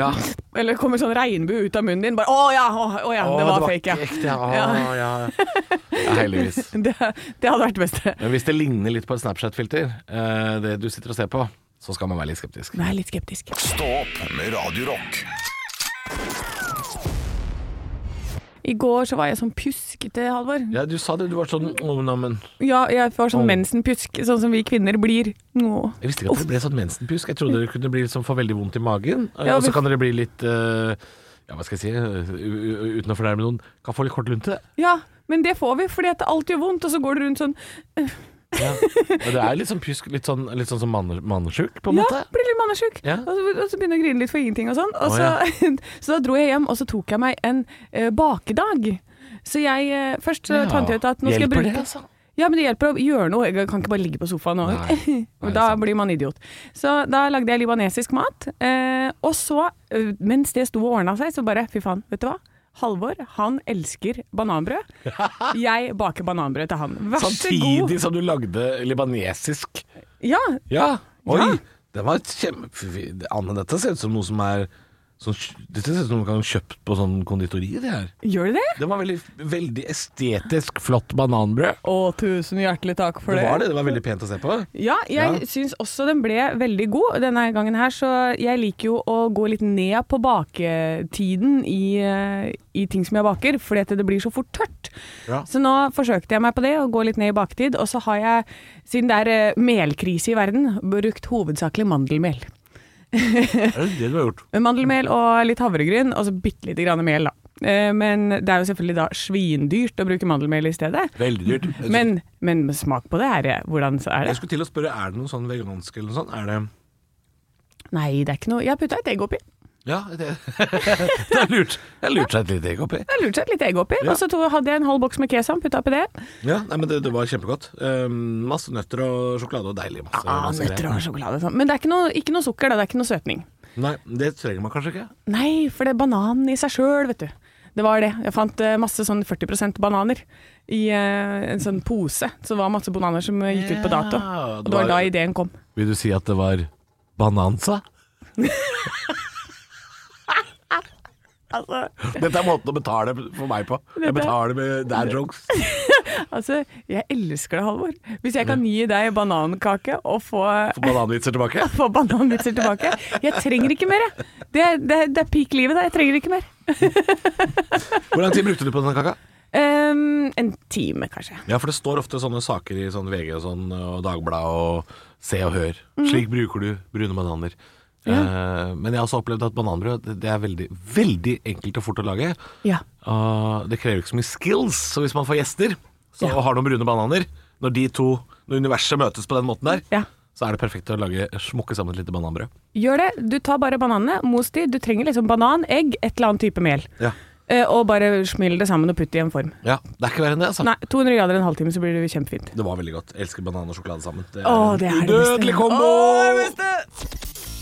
Speaker 4: Ja.
Speaker 5: Eller kommer sånn regnbue ut av munnen din. Bare 'Å ja, å, å, ja
Speaker 4: Å,
Speaker 5: det var fake',
Speaker 4: ikke
Speaker 5: ja.
Speaker 4: ekte, ja. Å,
Speaker 5: Ja.
Speaker 4: ja. ja. Heldigvis.
Speaker 5: Det, det hadde vært det beste.
Speaker 4: Men hvis det ligner litt på et Snapchat-filter, eh, det du sitter og ser på, så skal man være litt skeptisk.
Speaker 5: Vær litt skeptisk.
Speaker 2: Stå opp med Radio Rock.
Speaker 5: I går så var jeg sånn pjuskete, Halvor.
Speaker 4: Ja, du sa det, du var sånn oh, na, men.
Speaker 5: Ja, jeg får sånn
Speaker 4: Åh.
Speaker 5: mensenpjusk, sånn som vi kvinner blir. Nå.
Speaker 4: Jeg visste ikke at det ble sånn mensenpjusk. Jeg trodde det kunne bli liksom få veldig vondt i magen. eh,
Speaker 5: Ja,
Speaker 4: og så
Speaker 5: vi-
Speaker 4: kan dere bli litt eh, Ja, hva skal jeg si? u- u- Uten å fornærme noen. Kan få litt kort lunte.
Speaker 5: Ja, men det får vi, fordi at alt gjør vondt, og så går du rundt sånn
Speaker 4: Ja. Og det er litt sånn pjusk, litt sånn, litt sånn som manne- mannesjuk, på en
Speaker 5: Ja,
Speaker 4: måte.
Speaker 5: blir litt mannesjuk.
Speaker 4: Ja.
Speaker 5: Og, så, og så begynner jeg å grine litt for ingenting og sånn. Og
Speaker 4: Å,
Speaker 5: så, så da dro jeg hjem, og så tok jeg meg en eh, bakedag. Så jeg eh, Først så
Speaker 4: Ja.
Speaker 5: fant jeg ut at nå skal jeg
Speaker 4: Hjelper
Speaker 5: bruke
Speaker 4: det, altså?
Speaker 5: Ja, men det hjelper å gjøre noe. Jeg kan ikke bare ligge på sofaen og
Speaker 4: Nei, nei, det er
Speaker 5: Da
Speaker 4: sant.
Speaker 5: blir man idiot. Så da lagde jeg libanesisk mat. Eh, og så, eh, mens det sto og ordna seg, så bare Fy faen, vet du hva? Halvor, han elsker bananbrød. Jeg baker bananbrød til han. Vær så god.
Speaker 4: Samtidig som du lagde libanesisk.
Speaker 5: Ja,
Speaker 4: Ja, oi
Speaker 5: Ja.
Speaker 4: Det var et kjempe... fy- Anne, dette ser ut som noe som er sånn, Dette ser ut som noe man kan kjøpt på sånn konditori det her
Speaker 5: gjør du det?
Speaker 4: Det var veldig, veldig estetisk flott bananbrød
Speaker 5: Å, tusen hjertelig takk for
Speaker 4: Det var det, det var veldig pent å se på
Speaker 5: Ja, jeg
Speaker 4: Ja.
Speaker 5: syns også den ble veldig god denne gangen her, så jeg liker jo å gå litt ned på baketiden i, eh, i ting som jeg baker, fordi at det blir så fort tørt.
Speaker 4: Ja.
Speaker 5: Så nå forsøkte jeg meg på det, å gå litt ned i baketid, og så har jeg, siden det er eh, melkrise i verden, brukt hovedsakelig mandelmel.
Speaker 4: Er det det du har gjort?
Speaker 5: Mandelmel og litt havregryn, og så bitte lite grann mel, da. Eh, Men det er jo selvfølgelig da svindyrt å bruke mandelmel i stedet.
Speaker 4: Veldig dyrt Jeg
Speaker 5: Men, men smak på det her, eh, hvordan så er
Speaker 4: skulle- Jeg
Speaker 5: det?
Speaker 4: skulle til å spørre, er det noe sånn vegansk eller noe sånt? Er det...
Speaker 5: Nei, det er ikke noe Jeg har putta et egg oppi.
Speaker 4: Ja, det, det er lurt Jeg har lurt seg et lite egg oppi
Speaker 5: Jeg lurte et lite egg oppi,
Speaker 4: Ja.
Speaker 5: og så to, hadde jeg en halv boks med kesam, putta oppi det.
Speaker 4: Ja, nei, men det, det var kjempegodt Ehm, Masse nøtter og sjokolade og deilig masse,
Speaker 5: Ah,
Speaker 4: masse
Speaker 5: nøtter
Speaker 4: greier.
Speaker 5: og sjokolade og sånn. Men det er ikke noe, ikke noe sukker, da. Det er ikke noe søtning.
Speaker 4: Nei, det trenger man kanskje ikke
Speaker 5: Nei, for det er bananen i seg sjøl, vet du. Det var det. Jeg fant eh, masse sånn 40 bananer i eh, en sånn pose. Så det var masse bananer som eh, gikk ut på dato.
Speaker 4: Ja, det
Speaker 5: Og det
Speaker 4: var-
Speaker 5: var da ideen kom.
Speaker 4: Vil du si at det var banansa?
Speaker 5: Altså,
Speaker 4: Dette er måten å betale for meg på. Jeg betaler med dad jokes.
Speaker 5: altså, jeg elsker det, Halvor. Hvis jeg kan gi deg banankake og få
Speaker 4: For bananvitser tilbake.
Speaker 5: få bananvitser tilbake. Jeg trenger ikke mer, jeg. Det, er- det, er- det er peak livet, det. Jeg trenger ikke mer.
Speaker 4: Hvor lang tid brukte du på denne kaka?
Speaker 5: Ehm, en time, kanskje.
Speaker 4: Ja, for det står ofte sånne saker i sånn VG og sånn, og Dagbladet og Se og Hør. Slik bruker du brune bananer. Eh, men jeg har også opplevd at bananbrød det- det er veldig, veldig enkelt og fort å lage.
Speaker 5: Ja.
Speaker 4: Og det krever ikke så mye skills. Så hvis man får gjester så, og har noen brune bananer, når de to, når universet møtes på den måten der,
Speaker 5: Ja.
Speaker 4: så er det perfekt å lage smukke sammen et lite bananbrød.
Speaker 5: Gjør det. Du tar bare bananene, mos de. Du trenger liksom banan, egg, et eller annet type mel.
Speaker 4: Ja.
Speaker 5: Eh, Og bare smil det sammen og putt det i en form.
Speaker 4: ja. Det er ikke verre enn det, altså.
Speaker 5: Nei, 200 grader en halvtime, så blir det kjempefint.
Speaker 4: Det var veldig godt. Jeg elsker banan og sjokolade sammen. Det
Speaker 5: Å, det er det beste.
Speaker 4: udødelig kombo!